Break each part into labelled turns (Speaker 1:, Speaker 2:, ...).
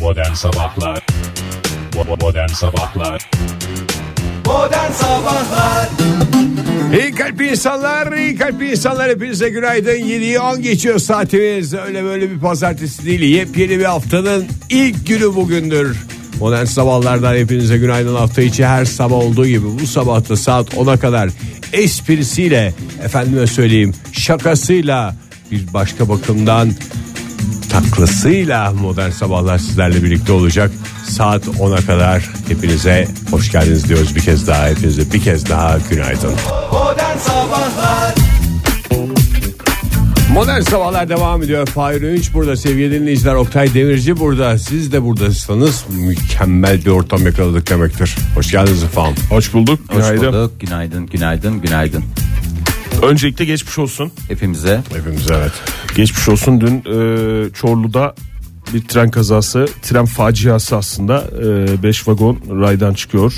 Speaker 1: Modern Sabahlar Bo- Modern Sabahlar
Speaker 2: Modern Sabahlar
Speaker 3: İyi kalpli insanlar, iyi kalpli insanlar hepinize günaydın. 7'yi 10 geçiyor saatimiz. Öyle böyle bir pazartesi değil. Yepyeni bir haftanın ilk günü bugündür. Modern sabahlardan hepinize günaydın hafta içi her sabah olduğu gibi bu sabah da saat 10'a kadar esprisiyle efendime söyleyeyim şakasıyla bir başka bakımdan taklasıyla modern sabahlar sizlerle birlikte olacak. Saat 10'a kadar hepinize hoş geldiniz diyoruz bir kez daha. Hepinize bir kez daha günaydın.
Speaker 2: Modern Sabahlar
Speaker 3: Modern Sabahlar devam ediyor. Fahir Öğünç burada, sevgili dinleyiciler Oktay Demirci burada. Siz de buradasınız. Mükemmel bir ortam yakaladık demektir. Hoş geldiniz efendim.
Speaker 4: Hoş bulduk. Günaydın.
Speaker 5: bulduk. Günaydın, günaydın, günaydın.
Speaker 4: Öncelikle geçmiş olsun.
Speaker 5: Hepimize
Speaker 3: Hepimiz evet.
Speaker 4: Geçmiş olsun. Dün e, Çorlu'da bir tren kazası, tren faciası aslında. 5 vagon raydan çıkıyor.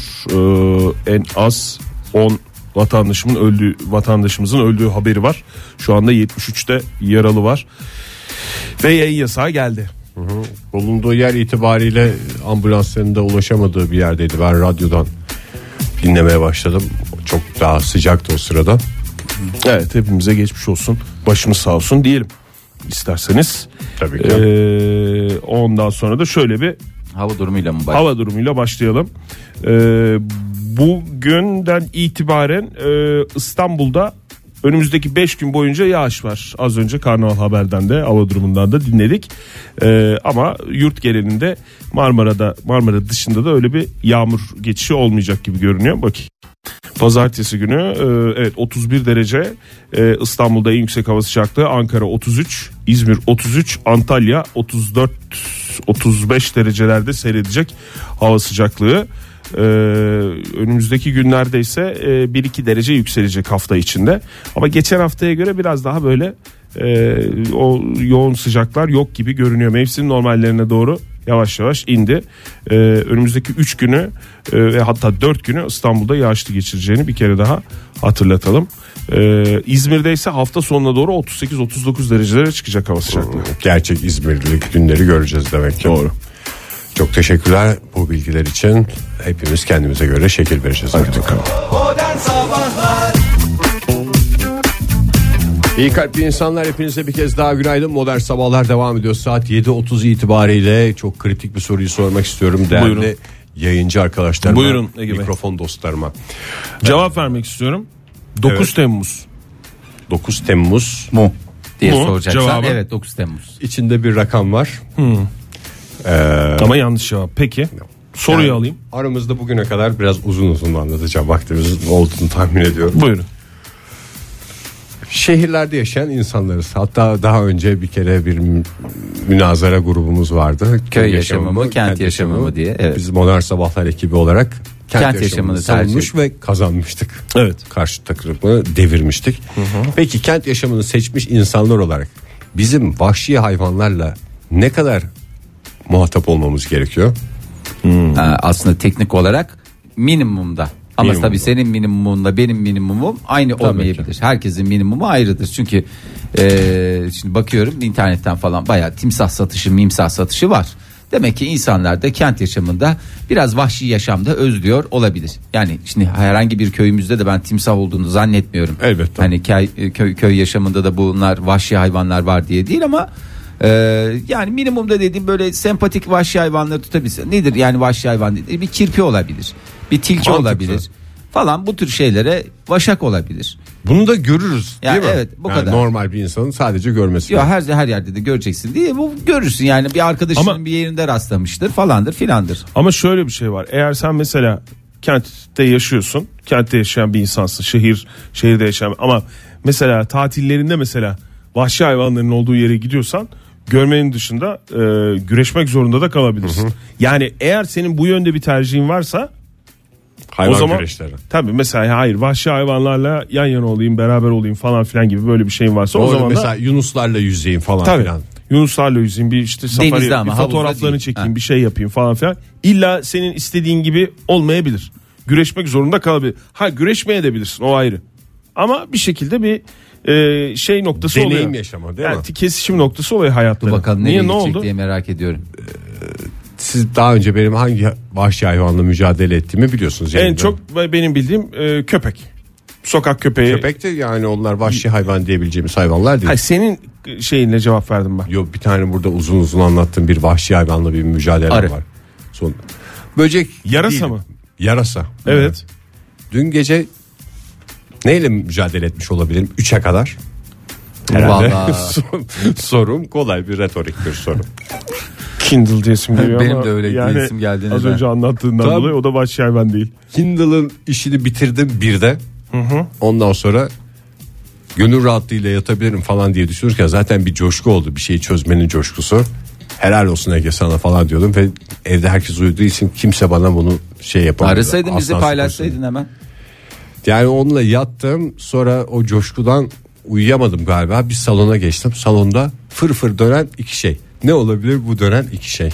Speaker 4: E, en az 10 vatandaşımın öldüğü vatandaşımızın öldüğü haberi var. Şu anda 73'te yaralı var. Ve yayın yasağı geldi.
Speaker 3: Bulunduğu yer itibariyle ambulansların da ulaşamadığı bir yerdeydi. Ben radyodan dinlemeye başladım. Çok daha sıcaktı o sırada.
Speaker 4: Evet hepimize geçmiş olsun. Başımız sağ olsun diyelim isterseniz.
Speaker 3: Tabii ki.
Speaker 4: E, ondan sonra da şöyle bir
Speaker 5: hava durumuyla mı başlıyor?
Speaker 4: Hava durumuyla başlayalım. Ee, bugünden itibaren e, İstanbul'da önümüzdeki 5 gün boyunca yağış var. Az önce Karnaval Haber'den de hava durumundan da dinledik. Ee, ama yurt genelinde Marmara'da Marmara dışında da öyle bir yağmur geçişi olmayacak gibi görünüyor. Bakayım. Pazartesi günü e, evet 31 derece E, İstanbul'da en yüksek hava sıcaklığı Ankara 33 İzmir 33 Antalya 34 35 derecelerde seyredecek hava sıcaklığı E, önümüzdeki günlerde ise e, 1-2 derece yükselecek hafta içinde ama geçen haftaya göre biraz daha böyle e, o yoğun sıcaklar yok gibi görünüyor mevsim normallerine doğru yavaş yavaş indi. Ee, önümüzdeki 3 günü e, ve hatta 4 günü İstanbul'da yağışlı geçireceğini bir kere daha hatırlatalım. Ee, İzmir'de ise hafta sonuna doğru 38-39 derecelere çıkacak hava sıcaklığı.
Speaker 3: Gerçek İzmirli günleri göreceğiz demek ki. Doğru. Çok teşekkürler bu bilgiler için. Hepimiz kendimize göre şekil vereceğiz artık.
Speaker 2: Modern Sabahlar
Speaker 3: İyi kalpli insanlar hepinize bir kez daha günaydın. Modern Sabahlar devam ediyor. Saat 7.30 itibariyle çok kritik bir soruyu sormak istiyorum. Değerli
Speaker 4: Buyurun.
Speaker 3: yayıncı arkadaşlarıma,
Speaker 4: Buyurun Ege Bey.
Speaker 3: mikrofon dostlarıma.
Speaker 4: Cevap vermek istiyorum. 9
Speaker 3: Evet.
Speaker 4: Temmuz.
Speaker 3: 9 Temmuz
Speaker 5: mu diye
Speaker 4: Mu?
Speaker 5: soracaksan
Speaker 4: Cevabı?
Speaker 5: evet 9 Temmuz.
Speaker 3: içinde bir rakam var.
Speaker 4: Ama yanlış cevap. Peki. Soruyu
Speaker 3: Yani
Speaker 4: alayım.
Speaker 3: Aramızda bugüne kadar biraz uzun uzun anlatacağım. Vaktimizin olduğunu tahmin ediyorum.
Speaker 4: Buyurun.
Speaker 3: Şehirlerde yaşayan insanlarız. Hatta daha önce bir kere bir mü- münazara grubumuz vardı.
Speaker 5: Köy yaşamı mı, kent yaşamı mı diye, evet.
Speaker 3: Biz Modern Sabahlar ekibi olarak kent,
Speaker 5: Kent
Speaker 3: yaşamını
Speaker 5: yaşamını tercih
Speaker 3: savunmuş ve kazanmıştık.
Speaker 4: Evet.
Speaker 3: Karşı takımı devirmiştik. Peki kent yaşamını seçmiş insanlar olarak bizim vahşi hayvanlarla ne kadar muhatap olmamız gerekiyor?
Speaker 5: Ha, aslında teknik olarak minimumda. Ama
Speaker 3: Minimumda.
Speaker 5: tabii senin minimumunla benim minimumum aynı olmayabilir. Herkesin minimumu ayrıdır. Çünkü e, şimdi bakıyorum internetten falan bayağı timsah satışı, mimsah satışı var. Demek ki insanlar da kent yaşamında biraz vahşi yaşamda özlüyor olabilir. Yani şimdi herhangi bir köyümüzde de ben timsah olduğunu zannetmiyorum.
Speaker 3: Elbette.
Speaker 5: Hani köy, köy, köy yaşamında da bunlar vahşi hayvanlar var diye değil ama e, yani minimumda dediğim böyle sempatik vahşi hayvanları tutabilirsin. Nedir yani vahşi hayvan? dediğin? Bir kirpi olabilir. Bir tilki
Speaker 3: Mantıklı.
Speaker 5: olabilir. Falan bu tür şeylere vaşak olabilir.
Speaker 3: Bunu da görürüz
Speaker 5: Ya
Speaker 3: değil mi?
Speaker 5: evet, bu
Speaker 3: Yani
Speaker 5: kadar.
Speaker 3: Normal bir insanın sadece görmesi.
Speaker 5: Ya
Speaker 3: lazım.
Speaker 5: her her yerde de göreceksin diye bu görürsün yani bir arkadaşının
Speaker 4: Ama-
Speaker 5: bir yerinde rastlamıştır falandır filandır.
Speaker 4: Ama şöyle bir şey var. Eğer sen mesela kentte yaşıyorsun. Kentte yaşayan bir insansın. Şehir şehirde yaşayan ama mesela tatillerinde mesela vahşi hayvanların olduğu yere gidiyorsan görmenin dışında e, güreşmek zorunda da kalabilirsin. Yani eğer senin bu yönde bir tercihin varsa
Speaker 3: Hayvan
Speaker 4: o zaman
Speaker 3: güreşleri.
Speaker 4: tabii mesela hayır vahşi hayvanlarla yan yana olayım, beraber olayım falan filan gibi böyle bir şeyin varsa o
Speaker 3: Doğru,
Speaker 4: zaman da
Speaker 3: mesela Yunuslarla yüzeyim falan
Speaker 4: Tabii.
Speaker 3: filan.
Speaker 4: Yunuslarla yüzeyim bir işte safari
Speaker 5: ama,
Speaker 4: bir
Speaker 5: havuzda
Speaker 4: fotoğraflarını
Speaker 5: değil.
Speaker 4: çekeyim
Speaker 5: Ha.
Speaker 4: bir şey yapayım falan filan. İlla senin istediğin gibi olmayabilir. Güreşmek zorunda kalabilir. Ha güreşmeye de bilirsin o ayrı. Ama bir şekilde bir e, şey noktası
Speaker 3: Deneyim
Speaker 4: oluyor.
Speaker 3: yaşama, değil mi?
Speaker 4: Yani kesişim noktası oluyor hayatta.
Speaker 5: Bakalım nereye
Speaker 4: Niye ne
Speaker 5: gidecek
Speaker 4: oldu?
Speaker 5: diye merak ediyorum.
Speaker 3: Siz daha önce benim hangi vahşi hayvanla mücadele ettiğimi biliyorsunuz.
Speaker 4: En
Speaker 3: yayında.
Speaker 4: çok benim bildiğim e, köpek. Sokak köpeği.
Speaker 3: Köpek de yani onlar vahşi hayvan diyebileceğimiz hayvanlar değil.
Speaker 4: Hayır, senin şeyinle cevap verdim ben.
Speaker 3: Yok bir tane burada uzun uzun anlattığım bir vahşi hayvanla bir mücadele
Speaker 5: Arı.
Speaker 3: var. Son böcek
Speaker 4: Yarasa
Speaker 3: değil.
Speaker 4: mı?
Speaker 3: Yarasa.
Speaker 4: Evet.
Speaker 3: Dün gece neyle mücadele etmiş olabilirim? Üçe kadar.
Speaker 5: Vallahi.
Speaker 3: Son- Sorum kolay bir retorik bir soru.
Speaker 4: Kindle diyesim geliyor
Speaker 5: Benim
Speaker 4: ama
Speaker 5: de öyle
Speaker 4: yani
Speaker 5: diyesim geldi
Speaker 4: Az
Speaker 5: neden?
Speaker 4: önce anlattığından
Speaker 3: Tabii.
Speaker 4: dolayı o da vahşi hayvan değil.
Speaker 3: Kindle'ın işini bitirdim bir de. Ondan sonra gönül rahatlığıyla yatabilirim falan diye düşünürken zaten bir coşku oldu. Bir şeyi çözmenin coşkusu. Helal olsun Ege sana falan diyordum ve evde herkes uyuduğu için kimse bana bunu şey yapamadı.
Speaker 5: Arasaydın bizi
Speaker 3: Aslan
Speaker 5: paylaşsaydın hemen.
Speaker 3: Yani onunla yattım sonra o coşkudan uyuyamadım galiba bir salona geçtim. Salonda fır fır dönen iki şey. Ne olabilir bu dönen iki şey?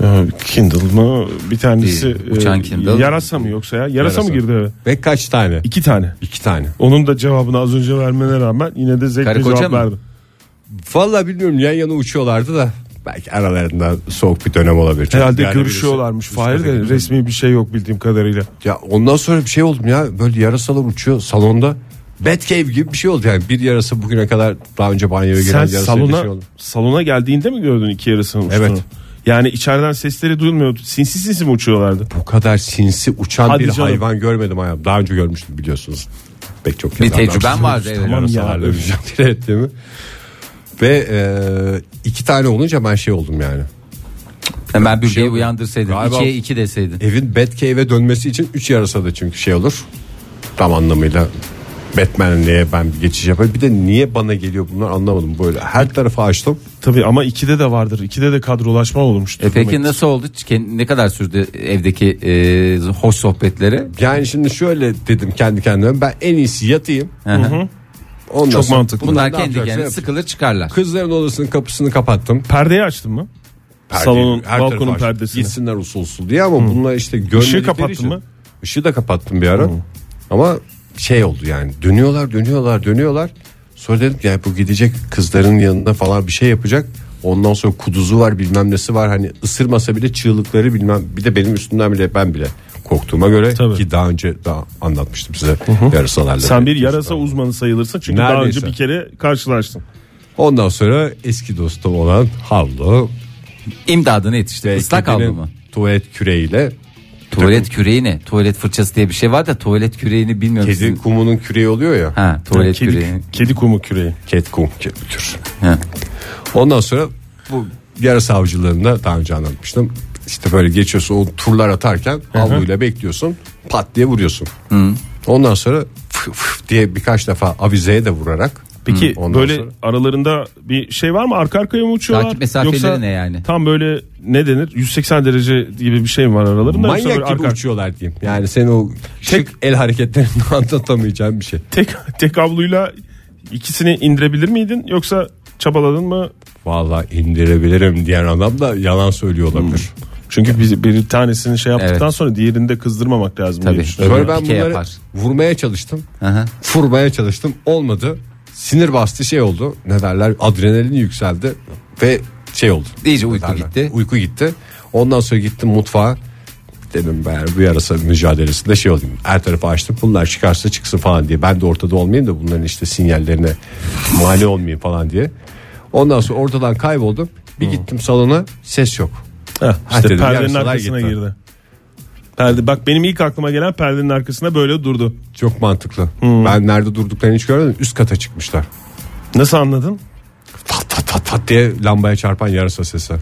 Speaker 4: Ee, Kindle mı? Bir tanesi
Speaker 5: Değil, uçan
Speaker 4: e,
Speaker 5: Kindle.
Speaker 4: Yarasa mı yoksa ya? Yarasa, mı
Speaker 3: Yarasa.
Speaker 4: girdi eve?
Speaker 3: Ve kaç tane? İki,
Speaker 4: İki tane.
Speaker 3: tane.
Speaker 4: Onun da cevabını az önce vermene rağmen yine de zevkli
Speaker 5: Karı koca
Speaker 4: cevap
Speaker 5: mı?
Speaker 4: verdim.
Speaker 3: Vallahi bilmiyorum yan yana uçuyorlardı da belki aralarında soğuk bir dönem olabilir. Çok
Speaker 4: Herhalde
Speaker 3: yani
Speaker 4: görüşüyorlarmış.
Speaker 3: birisi-
Speaker 4: Fahir de resmi bir şey yok bildiğim kadarıyla.
Speaker 3: Ya ondan sonra bir şey oldum ya böyle yarasalar uçuyor salonda. Batcave gibi bir şey oldu yani bir yarasa bugüne kadar daha önce banyoya giren
Speaker 4: Sen
Speaker 3: yarasa bir
Speaker 4: salona
Speaker 3: şey oldu.
Speaker 4: salona geldiğinde mi gördün iki yarısının uçtuğunu?
Speaker 3: Evet.
Speaker 4: Yani içeriden sesleri duyulmuyordu. Sinsi sinsi mi uçuyorlardı?
Speaker 3: Bu kadar sinsi uçan
Speaker 4: Hadi
Speaker 3: bir
Speaker 4: canım.
Speaker 3: hayvan görmedim hayatım. Daha önce görmüştüm biliyorsunuz. Pek çok
Speaker 5: Bir
Speaker 3: kez
Speaker 5: tecrüben
Speaker 3: anlatmıştım.
Speaker 5: vardı. evet.
Speaker 4: Tamam ya.
Speaker 3: Yarasalarla mücadele ettiğimi. Ve e, iki tane olunca ben şey oldum yani.
Speaker 5: Hemen bürgeyi
Speaker 3: şey oldu.
Speaker 5: uyandırsaydın.
Speaker 3: Galiba-
Speaker 5: İkiye iki deseydin.
Speaker 3: Evin Batcave'e dönmesi için üç yarasa da çünkü şey olur. Tam anlamıyla Batman'liğe ben bir geçiş yaparım. Bir de niye bana geliyor bunlar anlamadım böyle. Her tarafı açtım.
Speaker 4: Tabii ama ikide de vardır. İkide de kadrolaşma olmuştu.
Speaker 5: E peki nasıl oldu? Ke- Ne kadar sürdü evdeki e, hoş sohbetleri?
Speaker 3: Yani şimdi şöyle dedim kendi kendime ben en iyisi yatayım. Ondan
Speaker 4: Çok
Speaker 3: sonra
Speaker 4: mantıklı.
Speaker 3: bunlar
Speaker 5: Bunlar kendi
Speaker 3: ne yapacaksa
Speaker 5: kendine
Speaker 3: yapsın.
Speaker 5: sıkılır çıkarlar.
Speaker 3: Kızların odasının kapısını kapattım.
Speaker 4: Perdeyi açtın mı?
Speaker 3: Perdeyi,
Speaker 4: Salonun,
Speaker 3: her tarafı
Speaker 4: balkonun
Speaker 3: açtım.
Speaker 4: perdesini.
Speaker 3: Gitsinler usul usul diye ama bunlar işte görmedikleri
Speaker 4: kapattın
Speaker 3: için-
Speaker 4: mı?
Speaker 3: Işığı da kapattım bir ara. Ama şey oldu yani dönüyorlar dönüyorlar dönüyorlar. Sonra dedim ki, yani bu gidecek kızların yanında falan bir şey yapacak. Ondan sonra kuduzu var bilmem nesi var hani ısırmasa bile çığlıkları bilmem bir de benim üstümden bile ben bile korktuğuma göre
Speaker 4: Tabii.
Speaker 3: ki daha önce daha anlatmıştım size yarasalarla.
Speaker 4: Sen bir yarasa uzmanı sayılırsın çünkü daha
Speaker 3: Neredeyse.
Speaker 4: önce bir kere karşılaştın.
Speaker 3: Ondan sonra eski dostum olan Havlu
Speaker 5: İmdadına yetişti.
Speaker 3: ve
Speaker 5: Islak
Speaker 3: kedinin
Speaker 5: havlu mu?
Speaker 3: tuvalet küreğiyle
Speaker 5: Tuvalet küreği ne? Tuvalet fırçası diye bir şey var da tuvalet küreğini bilmiyorum.
Speaker 3: kedi
Speaker 5: sizin.
Speaker 3: kumunun küreği oluyor ya.
Speaker 5: Ha tuvalet küreği.
Speaker 4: kedi, kedi kumu küreği.
Speaker 3: Cat kum kür.
Speaker 5: Ha.
Speaker 3: Ondan sonra bu yarasa avcılığında daha önce anlatmıştım. İşte böyle geçiyorsun o turlar atarken havluyla bekliyorsun pat diye vuruyorsun. Ondan sonra fıf fıf diye birkaç defa avizeye de vurarak.
Speaker 4: Peki
Speaker 3: Hı, ondan
Speaker 4: böyle
Speaker 3: sonra-
Speaker 4: aralarında bir şey var mı? Arka arkaya mı uçuyorlar?
Speaker 5: Takip mesafeleri
Speaker 4: Yoksa
Speaker 5: ne yani?
Speaker 4: Tam böyle ne denir? 180 derece gibi bir şey mi var aralarında? Yoksa
Speaker 3: Manyak
Speaker 4: böyle
Speaker 3: gibi
Speaker 4: arka-
Speaker 3: uçuyorlar diyeyim. Yani senin o şık el hareketlerini anlatamayacağım bir şey.
Speaker 4: Tek, tek avluyla ikisini indirebilir miydin? Yoksa çabaladın mı?
Speaker 3: Vallahi indirebilirim diyen adam da yalan söylüyor olabilir.
Speaker 4: Çünkü bir, bir tanesini şey yaptıktan
Speaker 5: Evet.
Speaker 4: sonra diğerini de kızdırmamak lazım
Speaker 5: Tabii.
Speaker 4: diye düşünüyorum.
Speaker 3: Sonra ben
Speaker 5: Pike
Speaker 3: bunları
Speaker 5: yapar.
Speaker 3: vurmaya çalıştım.
Speaker 5: Aha.
Speaker 3: Vurmaya çalıştım. Olmadı. Sinir bastı şey oldu. Ne derler? Adrenalin yükseldi ve şey oldu.
Speaker 5: İyice
Speaker 3: Ne
Speaker 5: uyku
Speaker 3: derler?
Speaker 5: gitti.
Speaker 3: Uyku gitti. Ondan sonra gittim mutfağa. Dedim ben bu yarasa mücadelesinde şey olayım. Her tarafı açtım. Bunlar çıkarsa çıksın falan diye. Ben de ortada olmayayım da bunların işte sinyallerine mani olmayayım falan diye. Ondan sonra ortadan kayboldum. Bir gittim salona ses yok.
Speaker 4: Heh,
Speaker 3: Ha
Speaker 4: işte
Speaker 3: dedim,
Speaker 4: perdenin
Speaker 3: yarısalar
Speaker 4: arkasına
Speaker 3: gitti.
Speaker 4: girdi. Perde, bak benim ilk aklıma gelen perdenin arkasına böyle durdu.
Speaker 3: Çok mantıklı. Ben nerede durduklarını hiç görmedim. Üst kata çıkmışlar.
Speaker 4: Nasıl anladın?
Speaker 3: Fat fat fat fat diye lambaya çarpan yarasa sesi.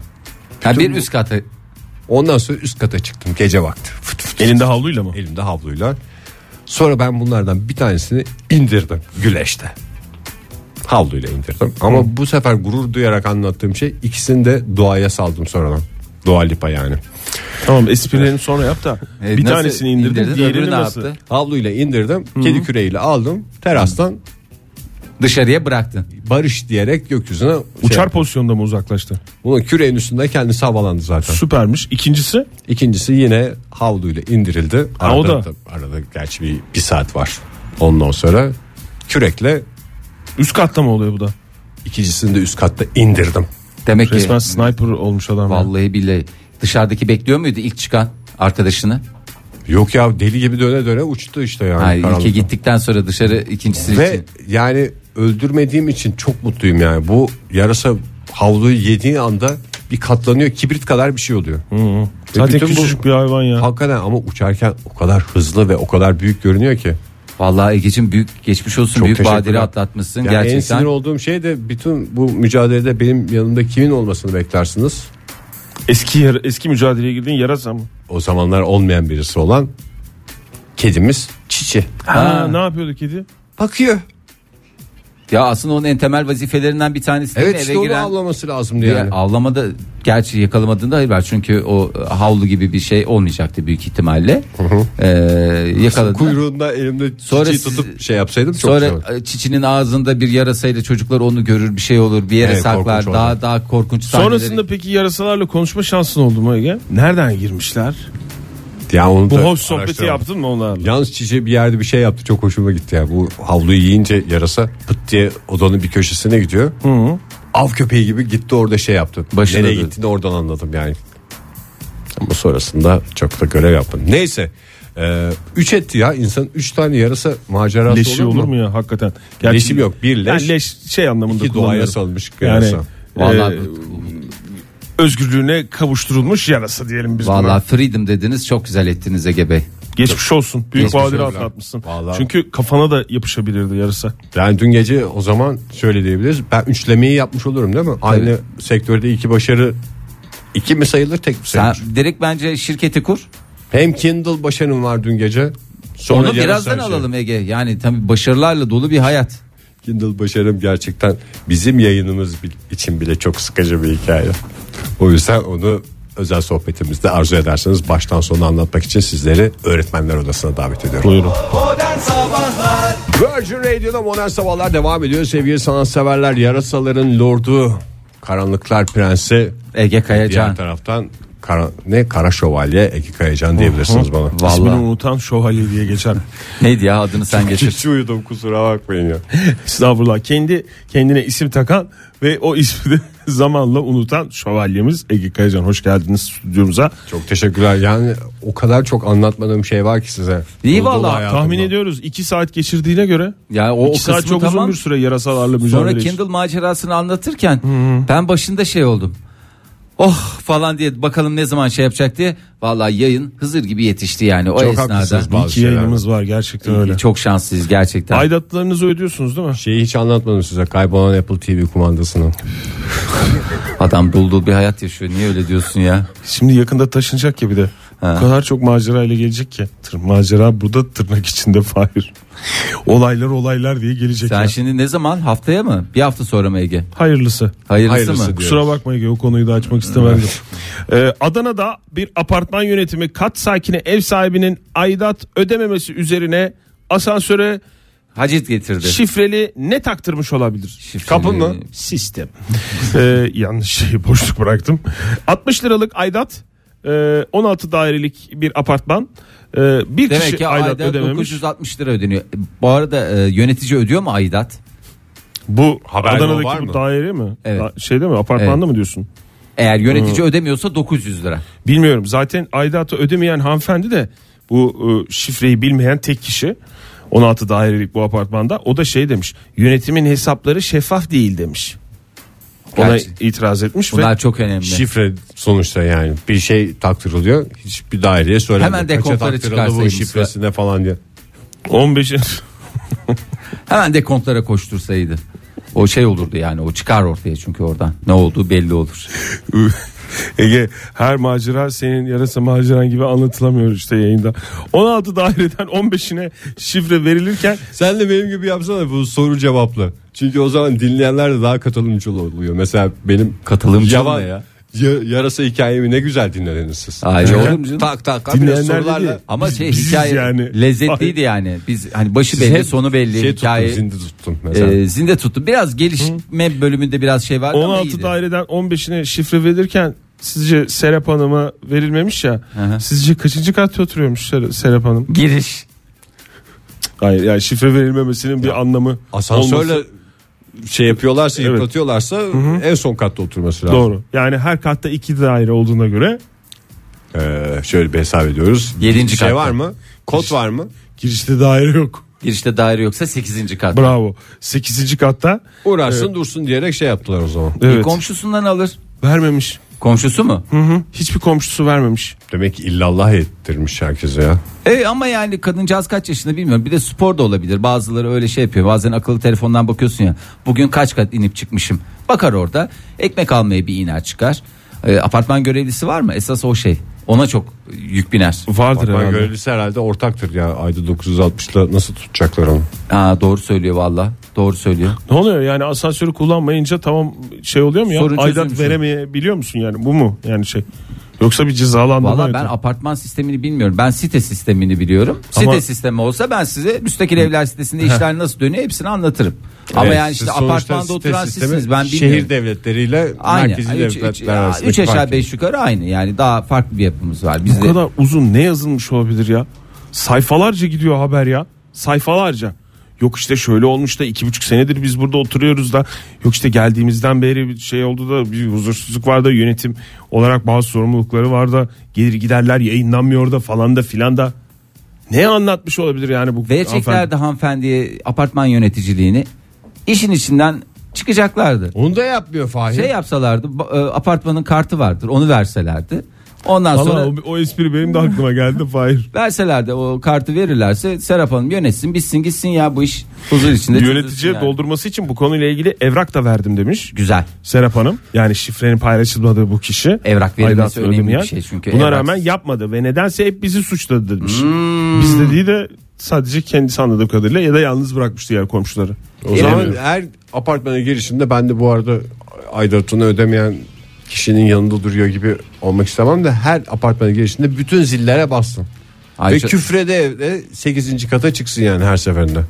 Speaker 5: Ha, bir üst katı.
Speaker 3: Ondan sonra üst kata çıktım gece vakti. Fıt fıt
Speaker 4: Elinde havluyla
Speaker 5: E,
Speaker 4: mı?
Speaker 3: elimde havluyla. Sonra ben bunlardan bir tanesini indirdim güleşte. Havluyla indirdim. Ama bu sefer gurur duyarak anlattığım şey ikisini de doğaya saldım sonradan. Doğa lipa yani.
Speaker 4: Tamam esprilerini sonra yap da.
Speaker 5: E,
Speaker 4: bir
Speaker 5: nasıl
Speaker 4: tanesini indirdin,
Speaker 5: indirdin, öbürü
Speaker 4: diğerini
Speaker 5: ne
Speaker 4: nasıl?
Speaker 5: yaptı?
Speaker 3: Havluyla indirdim. Kedi küreğiyle aldım. Terastan
Speaker 5: Dışarıya bıraktın.
Speaker 3: barış diyerek gökyüzüne şey-
Speaker 4: Uçar pozisyonda mı uzaklaştı?
Speaker 3: Bunun küreğin üstünde kendisi havalandı zaten.
Speaker 4: Süpermiş. İkincisi
Speaker 3: İkincisi yine havluyla indirildi.
Speaker 4: Ha, o da.
Speaker 3: arada gerçi bir, bir saat var. Ondan sonra kürekle
Speaker 4: üst katta mı oluyor bu da?
Speaker 3: ikincisini de üst katta indirdim.
Speaker 5: Demek
Speaker 4: Resmen
Speaker 5: ki
Speaker 4: sniper olmuş adam. ya.
Speaker 5: vallahi billahi dışarıdaki bekliyor muydu ilk çıkan arkadaşını?
Speaker 3: Yok ya deli gibi döne döne uçtu işte yani.
Speaker 5: Hayır
Speaker 3: karanlıkta.
Speaker 5: ilke gittikten sonra dışarı ikincisi
Speaker 3: Ve
Speaker 5: için.
Speaker 3: yani öldürmediğim için çok mutluyum yani. Bu yarasa havluyu yediği anda bir katlanıyor kibrit kadar bir şey oluyor. Ve
Speaker 4: Zaten
Speaker 3: bütün bu-
Speaker 4: küçücük bir hayvan ya.
Speaker 3: Hakikaten ama uçarken o kadar hızlı ve o kadar büyük görünüyor ki.
Speaker 5: Vallahi Ege'cim büyük geçmiş olsun
Speaker 3: Çok
Speaker 5: büyük
Speaker 3: teşekkürler.
Speaker 5: badire atlatmışsın
Speaker 3: Yani en
Speaker 5: gerçekten.
Speaker 3: sinir olduğum şey de bütün bu mücadelede benim yanımda kimin olmasını beklersiniz?
Speaker 4: Eski yar- eski mücadeleye girdiğin yarasa mı?
Speaker 3: O zamanlar olmayan birisi olan kedimiz Çiçi.
Speaker 4: Ha. ne yapıyordu kedi?
Speaker 3: Bakıyor.
Speaker 5: Ya aslında onun en temel vazifelerinden bir tanesi değil mi?
Speaker 3: Evet işte
Speaker 5: eve
Speaker 3: onu
Speaker 5: giren.
Speaker 3: avlaması lazımdı
Speaker 5: Bir
Speaker 3: yani.
Speaker 5: Avlamada gerçi yakalamadığında hayır var çünkü o e, havlu gibi bir şey olmayacaktı büyük ihtimalle. Ee, yakaladı.
Speaker 3: Kuyruğunda elimde
Speaker 5: Sonra
Speaker 3: Çiçi'yi
Speaker 5: siz-
Speaker 3: tutup şey yapsaydım çok
Speaker 5: Sonra
Speaker 3: güzel olur.
Speaker 5: e, çiçinin ağzında bir yarasayla çocuklar onu görür bir şey olur bir yere
Speaker 3: Evet,
Speaker 5: saklar
Speaker 3: korkunç
Speaker 5: daha
Speaker 3: oldu.
Speaker 5: daha korkunç sahneleri.
Speaker 3: e,
Speaker 4: Sonrasında peki yarasalarla konuşma şansın oldu mu Ege? Nereden girmişler?
Speaker 3: Yani onu
Speaker 4: Bu
Speaker 3: da
Speaker 4: hoş sohbeti
Speaker 3: araştıralım.
Speaker 4: yaptın mı onlarla?
Speaker 3: Yalnız Çiçi bir yerde bir şey yaptı çok hoşuma gitti ya. Bu havluyu yiyince yarasa pıt diye odanın bir köşesine gidiyor. Av köpeği gibi gitti orada şey yaptı.
Speaker 5: Başına
Speaker 3: Nereye
Speaker 5: dön-
Speaker 3: gittiğini oradan anladım yani. Ama sonrasında çok da görev yapmadım. Neyse. Ee, üç etti ya insan üç tane yarasa macerası
Speaker 4: Leşi
Speaker 3: olur mu?
Speaker 4: olur mu ya hakikaten? Gerçi-
Speaker 3: Leşim yok, bir leş,
Speaker 4: Yani leş şey anlamında
Speaker 3: iki doğaya
Speaker 4: kullanıyorum.
Speaker 3: salmış
Speaker 4: Yani
Speaker 3: yarasa.
Speaker 5: Vallahi-
Speaker 4: e, özgürlüğüne kavuşturulmuş yarasa diyelim biz buna.
Speaker 5: Vallahi freedom dediniz çok güzel ettiniz Ege Bey.
Speaker 4: Geçmiş olsun. Büyük
Speaker 5: Geçmiş
Speaker 4: badire
Speaker 3: olsun.
Speaker 4: atlatmışsın.
Speaker 3: Vallahi-
Speaker 4: Çünkü kafana da yapışabilirdi yarasa.
Speaker 3: Yani dün gece o zaman şöyle diyebiliriz. Ben üçlemeyi yapmış olurum değil mi? Aynı sektörde iki başarı iki mi sayılır tek mi
Speaker 5: Sen
Speaker 3: sayılır?
Speaker 5: direkt bence şirketi kur.
Speaker 3: Hem Kindle başarım var dün gece. Sonra
Speaker 5: Onu
Speaker 3: yarasa
Speaker 5: birazdan
Speaker 3: şey.
Speaker 5: alalım Ege. Yani tabii başarılarla dolu bir hayat.
Speaker 3: Kindle başarım gerçekten bizim yayınımız bi- için bile çok sıkıcı bir hikaye. O yüzden onu özel sohbetimizde arzu ederseniz baştan sona anlatmak için sizleri öğretmenler odasına davet ediyorum.
Speaker 4: Buyurun.
Speaker 2: Modern Sabahlar
Speaker 3: Virgin Radio'da modern sabahlar devam ediyor sevgili sanatseverler. Yarasaların lordu, karanlıklar prensi.
Speaker 5: Ege
Speaker 3: Diğer
Speaker 5: Kayacan.
Speaker 3: taraftan kara, ne kara şövalye Eki Kayacan diyebilirsiniz bana.
Speaker 4: İsmini
Speaker 5: Vallahi
Speaker 4: unutan şövalye diye geçer.
Speaker 5: neydi ya adını sen geçir.
Speaker 3: Hiç uyudum kusura bakmayın ya.
Speaker 4: Estağfurullah. Kendi kendine isim takan ve o ismi de zamanla unutan şövalyemiz Ege Kayacan. Hoş geldiniz stüdyomuza.
Speaker 3: Çok teşekkürler. Yani o kadar çok anlatmadığım şey var ki size.
Speaker 5: İyi
Speaker 3: Oldu
Speaker 5: vallahi.
Speaker 3: olay hayatımda.
Speaker 4: Tahmin ediyoruz 2 saat geçirdiğine göre.
Speaker 5: Ya o, o
Speaker 4: 2 saat
Speaker 5: kısmı
Speaker 4: çok uzun
Speaker 5: tamam.
Speaker 4: bir süre yarasalarla mücadele
Speaker 5: Sonra
Speaker 4: için.
Speaker 5: Kindle macerasını anlatırken ben başında şey oldum. Oh falan diye bakalım ne zaman şey yapacak diye. Vallahi yayın Hızır gibi yetişti yani o
Speaker 3: Çok
Speaker 5: esnada.
Speaker 3: haklısınız bazı
Speaker 4: İki
Speaker 3: şeyler.
Speaker 4: yayınımız var gerçekten öyle.
Speaker 5: Çok şanslıyız gerçekten.
Speaker 4: Aidatlarınızı ödüyorsunuz değil mi?
Speaker 3: Şeyi hiç anlatmadım size kaybolan Apple TV kumandasını.
Speaker 5: Adam bulduğu bir hayat yaşıyor. Niye öyle diyorsun ya?
Speaker 4: Şimdi yakında taşınacak ya bir de. O kadar çok macera ile gelecek ki. Tır, macera burada tırnak içinde Fahir. olaylar olaylar diye gelecek.
Speaker 5: Sen
Speaker 4: ya.
Speaker 5: şimdi ne zaman? Haftaya mı? Bir hafta sonra mı Ege?
Speaker 4: Hayırlısı.
Speaker 5: Hayırlısı,
Speaker 3: Hayırlısı
Speaker 5: mı?
Speaker 3: diyor.
Speaker 4: Kusura bakma Ege o konuyu da açmak istemedim. Ee, Adana'da bir apartman yönetimi kat sakini ev sahibinin aidat ödememesi üzerine asansöre
Speaker 5: Hacit getirdi.
Speaker 4: şifreli ne taktırmış olabilir?
Speaker 5: Şifreli-
Speaker 4: Kapı mı? Sistem. Ee, yanlış şeyi boşluk bıraktım. 60 liralık aidat e, 16 dairelik bir apartman e, bir
Speaker 5: Demek
Speaker 4: kişi
Speaker 5: ki
Speaker 4: aidat,
Speaker 5: aidat
Speaker 4: ödememiş.
Speaker 5: 960 lira ödeniyor. Bu arada e, yönetici ödüyor mu aidat?
Speaker 4: Bu
Speaker 3: Haber
Speaker 4: Adana'daki
Speaker 3: var
Speaker 4: bu
Speaker 3: mı?
Speaker 4: daire mi?
Speaker 5: Evet.
Speaker 4: Da- Şeyde mi? Apartmanda
Speaker 5: Evet.
Speaker 4: mı diyorsun?
Speaker 5: Eğer yönetici ödemiyorsa 900 lira.
Speaker 4: Bilmiyorum. Zaten aidatı ödemeyen hanımefendi de bu e, şifreyi bilmeyen tek kişi. 16 dairelik bu apartmanda. O da şey demiş. Yönetimin hesapları şeffaf değil demiş. Ona
Speaker 5: Gerçi.
Speaker 4: itiraz etmiş ve
Speaker 5: Bunlar çok önemli.
Speaker 3: Şifre sonuçta yani bir şey taktırılıyor. Hiçbir daireye söylemiyor.
Speaker 5: Hemen
Speaker 3: Kaça
Speaker 5: dekontları
Speaker 3: taktırıldı bu
Speaker 5: çıkarsaymış.
Speaker 3: şifresine falan diye.
Speaker 4: 15
Speaker 5: Hemen de kontlara koştursaydı. O şey olurdu yani o çıkar ortaya çünkü oradan. Ne olduğu belli olur.
Speaker 4: Ege her macera senin yarasa maceran gibi anlatılamıyor işte yayında. 16 daireden 15'ine şifre verilirken
Speaker 3: Sen de benim gibi yapsana bu soru cevaplı. Çünkü o zaman dinleyenler de daha katılımcı oluyor. Mesela benim
Speaker 5: Katılımcı
Speaker 3: yavan-
Speaker 5: mı ya?
Speaker 3: ya- yarasa hikayemi ne güzel dinlediniz siz.
Speaker 5: Hayır
Speaker 3: Çünkü
Speaker 5: oğlum canım.
Speaker 3: Tak tak abi
Speaker 4: Dinleyenler
Speaker 3: sorularla.
Speaker 4: dedi.
Speaker 5: Ama
Speaker 4: Biz-
Speaker 5: şey
Speaker 4: biziz
Speaker 5: hikaye
Speaker 4: yani.
Speaker 5: lezzetliydi yani. Biz hani başı
Speaker 3: Siz
Speaker 5: belli,
Speaker 3: hep
Speaker 5: sonu belli
Speaker 3: şey
Speaker 5: hikaye.
Speaker 3: tuttum, zindi tuttum mesela.
Speaker 5: e, zinde tuttu. Biraz gelişme bölümünde biraz şey vardı ama
Speaker 4: 16
Speaker 5: iyiydi.
Speaker 4: daireden 15'ine şifre verirken sizce Serap Hanım'a verilmemiş ya.
Speaker 5: hı.
Speaker 4: Sizce kaçıncı katta oturuyormuş Ser- Serap Hanım?
Speaker 5: Giriş.
Speaker 4: Hayır yani şifre verilmemesinin bir anlamı
Speaker 3: Asansörle
Speaker 4: olması.
Speaker 3: şey yapıyorlarsa
Speaker 4: Evet.
Speaker 3: yıpratıyorlarsa en son katta oturması lazım.
Speaker 4: Doğru. Yani her katta iki daire olduğuna göre
Speaker 3: Ee, şöyle bir hesap ediyoruz.
Speaker 5: Yedinci
Speaker 3: şey
Speaker 5: katta.
Speaker 3: var mı? Kod var mı?
Speaker 4: girişte daire yok.
Speaker 5: Girişte daire yoksa 8. kat.
Speaker 4: Bravo. 8. katta
Speaker 3: Uğraşsın dursun diyerek şey yaptılar o zaman.
Speaker 5: E,
Speaker 4: evet.
Speaker 5: komşusundan alır.
Speaker 4: vermemiş.
Speaker 5: Komşusu mu?
Speaker 4: Hı hı. Hiçbir komşusu vermemiş.
Speaker 3: Demek ki illallah ettirmiş herkese ya.
Speaker 5: E ama yani kadıncağız kaç yaşında bilmiyorum. Bir de spor da olabilir. Bazıları öyle şey yapıyor. Bazen akıllı telefondan bakıyorsun ya. Bugün kaç kat inip çıkmışım. Bakar orada. Ekmek almaya bir iner çıkar. E, apartman görevlisi var mı? Esas o şey. Ona çok yük biner.
Speaker 4: Vardır
Speaker 3: Apartman
Speaker 4: herhalde.
Speaker 3: görevlisi herhalde ortaktır ya. Ayda 960'la nasıl tutacaklar onu?
Speaker 5: Aa, doğru söylüyor valla. Doğru söylüyor.
Speaker 4: Ne oluyor yani asansörü kullanmayınca tamam şey oluyor mu ya?
Speaker 5: Sorun
Speaker 4: Aidat
Speaker 5: çözülmüş oluyor.
Speaker 4: veremeyebiliyor musun yani bu mu yani şey? Yoksa bir cezalandırma
Speaker 5: Valla
Speaker 4: yok.
Speaker 5: ben apartman sistemini bilmiyorum. Ben site sistemini biliyorum.
Speaker 4: Ama-
Speaker 5: Site sistemi olsa ben size müstakil evler sitesinde işler nasıl dönüyor hepsini anlatırım. Ama
Speaker 3: Evet,
Speaker 5: yani
Speaker 3: siz
Speaker 5: işte
Speaker 3: sonuçta
Speaker 5: apartmanda
Speaker 3: site
Speaker 5: oturan
Speaker 3: sistemi
Speaker 5: sizsiniz ben bilmiyorum.
Speaker 3: Şehir devletleriyle
Speaker 5: Aynı.
Speaker 3: merkezi
Speaker 5: Üç,
Speaker 3: devletler
Speaker 5: üç, ya,
Speaker 3: arasındaki
Speaker 5: üç aşağı
Speaker 3: fark.
Speaker 5: beş yukarı aynı. Yani daha farklı bir yapımız var.
Speaker 4: Bu
Speaker 5: Bizde
Speaker 4: kadar uzun ne yazılmış olabilir ya? Sayfalarca gidiyor haber ya. Sayfalarca. Yok işte şöyle olmuş da iki buçuk senedir biz burada oturuyoruz da yok işte geldiğimizden beri bir şey oldu da bir huzursuzluk var da yönetim olarak bazı sorumlulukları var da gelir giderler yayınlanmıyor da falan da filan da ne anlatmış olabilir yani bu
Speaker 5: vereceklerdi
Speaker 4: hanımefendi?
Speaker 5: hanımefendiye apartman yöneticiliğini. İşin içinden çıkacaklardı.
Speaker 3: Onu da yapmıyor Fahir.
Speaker 5: Şey yapsalardı ba- e, apartmanın kartı vardır onu verselerdi. Ondan
Speaker 4: Valla
Speaker 5: sonra
Speaker 4: o, o espri benim de aklıma geldi Fahir.
Speaker 5: verselerdi o kartı verirlerse Serap Hanım yönetsin bitsin gitsin ya bu iş huzur içinde. çözülsün
Speaker 4: Yöneticiye
Speaker 5: yani.
Speaker 4: doldurması için bu konuyla ilgili evrak da verdim demiş.
Speaker 5: Güzel.
Speaker 4: Serap Hanım yani şifrenin paylaşılmadığı bu kişi
Speaker 5: Evrak verilmesi
Speaker 4: Aydat
Speaker 5: önemli
Speaker 4: Ödemeyen,
Speaker 5: bir şey çünkü
Speaker 4: buna
Speaker 5: evrak-
Speaker 4: rağmen yapmadı ve nedense hep bizi suçladı demiş.
Speaker 5: Hmm.
Speaker 4: Biz dediği de sadece kendisi anladığım kadarıyla ya da yalnız bırakmış diğer komşuları.
Speaker 3: O zaman her apartmanın girişinde ben de bu arada aidatını ödemeyen kişinin yanında duruyor gibi olmak istemem de her apartmanın girişinde bütün zillere bassın.
Speaker 5: Ay,
Speaker 3: Ve
Speaker 5: çok-
Speaker 3: küfrede evde 8. kata çıksın yani her seferinde.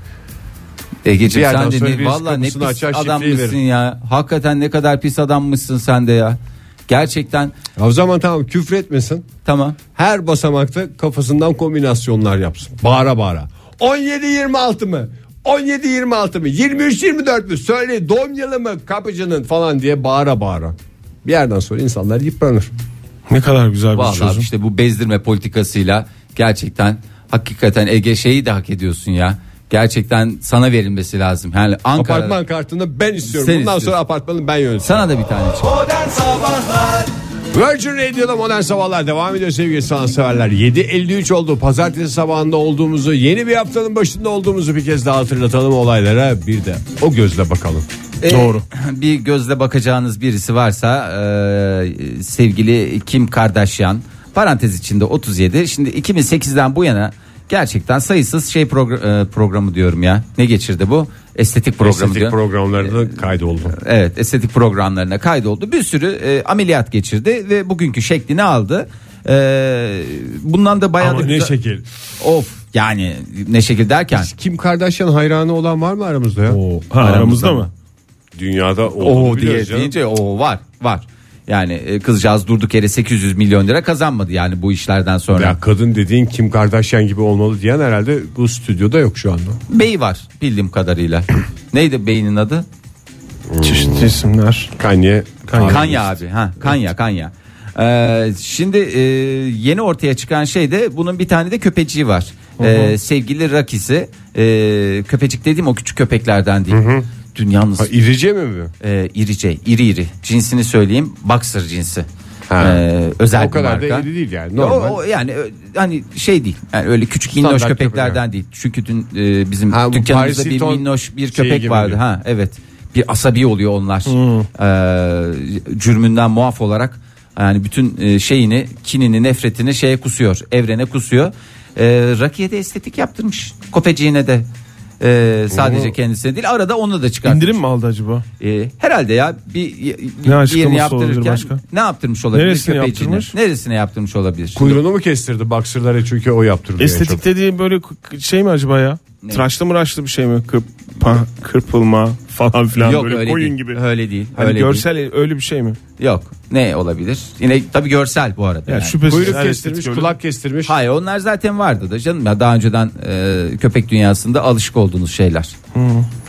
Speaker 5: Egeciğim
Speaker 3: Bir yerden
Speaker 5: sen de
Speaker 3: sonra
Speaker 5: ne,
Speaker 3: birisi
Speaker 5: valla ne pis
Speaker 3: kapısını açar, şifreyi
Speaker 5: adammışsın
Speaker 3: verir.
Speaker 5: ya. Hakikaten ne kadar pis adammışsın sen de ya. Gerçekten
Speaker 3: O zaman tamam küfretmesin.
Speaker 5: tamam.
Speaker 3: Her basamakta kafasından kombinasyonlar yapsın. Bağıra bağıra. 17-26 mı? 17-26 mı? 23-24 mü? Söyle domyalı mı kapıcının falan diye bağıra bağıra. Bir yerden sonra insanlar yıpranır.
Speaker 4: Ne kadar güzel bir
Speaker 5: Vallahi şey
Speaker 4: çözüm.
Speaker 5: işte bu bezdirme politikasıyla gerçekten hakikaten Ege şeyi de hak ediyorsun ya. Gerçekten sana verilmesi lazım. Yani Ankara
Speaker 3: Apartman kartını ben istiyorum.
Speaker 5: Sen
Speaker 3: Bundan sonra
Speaker 5: istiyorsun.
Speaker 3: apartmanı ben yönetirim.
Speaker 5: sana da bir tane çık.
Speaker 2: Modern Sabahlar
Speaker 3: Virgin Radio'da modern sabahlar devam ediyor sevgili sanatseverler. 7.53 oldu. Pazartesi sabahında olduğumuzu, yeni bir haftanın başında olduğumuzu bir kez daha hatırlatalım olaylara. Bir de o gözle bakalım.
Speaker 4: Doğru.
Speaker 5: Bir gözle bakacağınız birisi varsa e, sevgili Kim Kardashian parantez içinde 37. Şimdi 2008'den bu yana gerçekten sayısız şey progr- e, programı diyorum ya. Ne geçirdi bu? Estetik programı diyor.
Speaker 3: programlarına kaydoldu.
Speaker 5: Evet estetik programlarına kaydoldu. Bir sürü e, ameliyat geçirdi ve bugünkü şeklini aldı. E, bundan da bayağı
Speaker 4: Ama
Speaker 5: da
Speaker 4: ne
Speaker 5: güzel-
Speaker 4: şekil.
Speaker 5: Of yani ne şekil derken.
Speaker 3: Kim Kardashian hayranı olan var mı aramızda ya?
Speaker 4: Oo, ha, aramızda, mı?
Speaker 3: Dünyada
Speaker 5: O "Oh" diye deyince o var var. Yani e, kızcağız durduk yere 800 milyon lira kazanmadı yani bu işlerden sonra.
Speaker 3: Ya kadın dediğin Kim Kardashian gibi olmalı diyen herhalde bu stüdyoda yok şu anda.
Speaker 5: Bey var bildiğim kadarıyla. Neydi beynin adı?
Speaker 4: Çeşitli isimler.
Speaker 3: Kanye.
Speaker 4: Kanye.
Speaker 5: Kanya abi ha Kanya Kanya. Ee, şimdi e, yeni ortaya çıkan şey de bunun bir tane de köpeciği var. Ee, sevgili Rakisi e, köpecik dediğim o küçük köpeklerden değil. Dünyanın
Speaker 3: Ha, irice mi bu?
Speaker 5: e, irice iri iri cinsini söyleyeyim boxer cinsi.
Speaker 3: Ha.
Speaker 5: Ee, özel
Speaker 3: O kadar
Speaker 5: bir
Speaker 3: da
Speaker 5: marka.
Speaker 3: iri değil yani,
Speaker 5: Ya o-
Speaker 3: normal.
Speaker 5: O, yani ö- hani şey değil. Yani öyle küçük minnoş
Speaker 3: Standart köpek
Speaker 5: köpeklerden
Speaker 3: yani.
Speaker 5: değil. Çünkü dün e, bizim
Speaker 3: Ha, bu
Speaker 5: dükkanımızda
Speaker 3: Paris
Speaker 5: bir
Speaker 3: Hilton
Speaker 5: minnoş bir
Speaker 3: şeyi
Speaker 5: köpek
Speaker 3: gibi Hmm.
Speaker 5: vardı.
Speaker 3: mi?
Speaker 5: Ha evet. Bir asabi oluyor onlar. Ee, cürmünden muaf olarak yani bütün e, şeyini, kinini, nefretini şeye kusuyor. Evrene kusuyor. Ee, Rakiye de estetik yaptırmış. Kopeciğine de. Ee, sadece kendisine değil arada onu da çıkartmış.
Speaker 4: İndirim mi aldı acaba?
Speaker 5: Ee, herhalde ya bir
Speaker 4: Ne
Speaker 5: ne
Speaker 4: açıklaması
Speaker 5: yerini
Speaker 4: olabilir
Speaker 5: yaptırırken
Speaker 4: başka?
Speaker 5: ne yaptırmış olabilir
Speaker 4: Neresini
Speaker 5: köpeciğine?
Speaker 4: yaptırmış?
Speaker 5: Neresine yaptırmış olabilir?
Speaker 3: Kuyruğunu mu kestirdi boxer'lara çünkü o yaptırdı. en çok.
Speaker 4: Estetik dediğin böyle k- k- şey mi acaba ya?
Speaker 5: Ne?
Speaker 4: Tıraşlı mıraşlı bir şey mi? Kırpa, kırpılma falan filan
Speaker 5: Yok
Speaker 4: böyle
Speaker 5: öyle
Speaker 4: koyun
Speaker 5: değil.
Speaker 4: gibi.
Speaker 5: Öyle değil.
Speaker 4: Hani
Speaker 5: öyle
Speaker 4: görsel öyle bir şey mi?
Speaker 5: değil. Yok. Ne olabilir? Yine tabii görsel bu arada.
Speaker 4: Ya
Speaker 5: yani.
Speaker 4: şüphesiz
Speaker 3: Kuyruk
Speaker 4: her
Speaker 3: kestirmiş,
Speaker 4: estetik öyle.
Speaker 3: kulak kestirmiş.
Speaker 5: Hayır onlar zaten vardı da canım ya daha önceden e, köpek dünyasında alışık olduğunuz şeyler.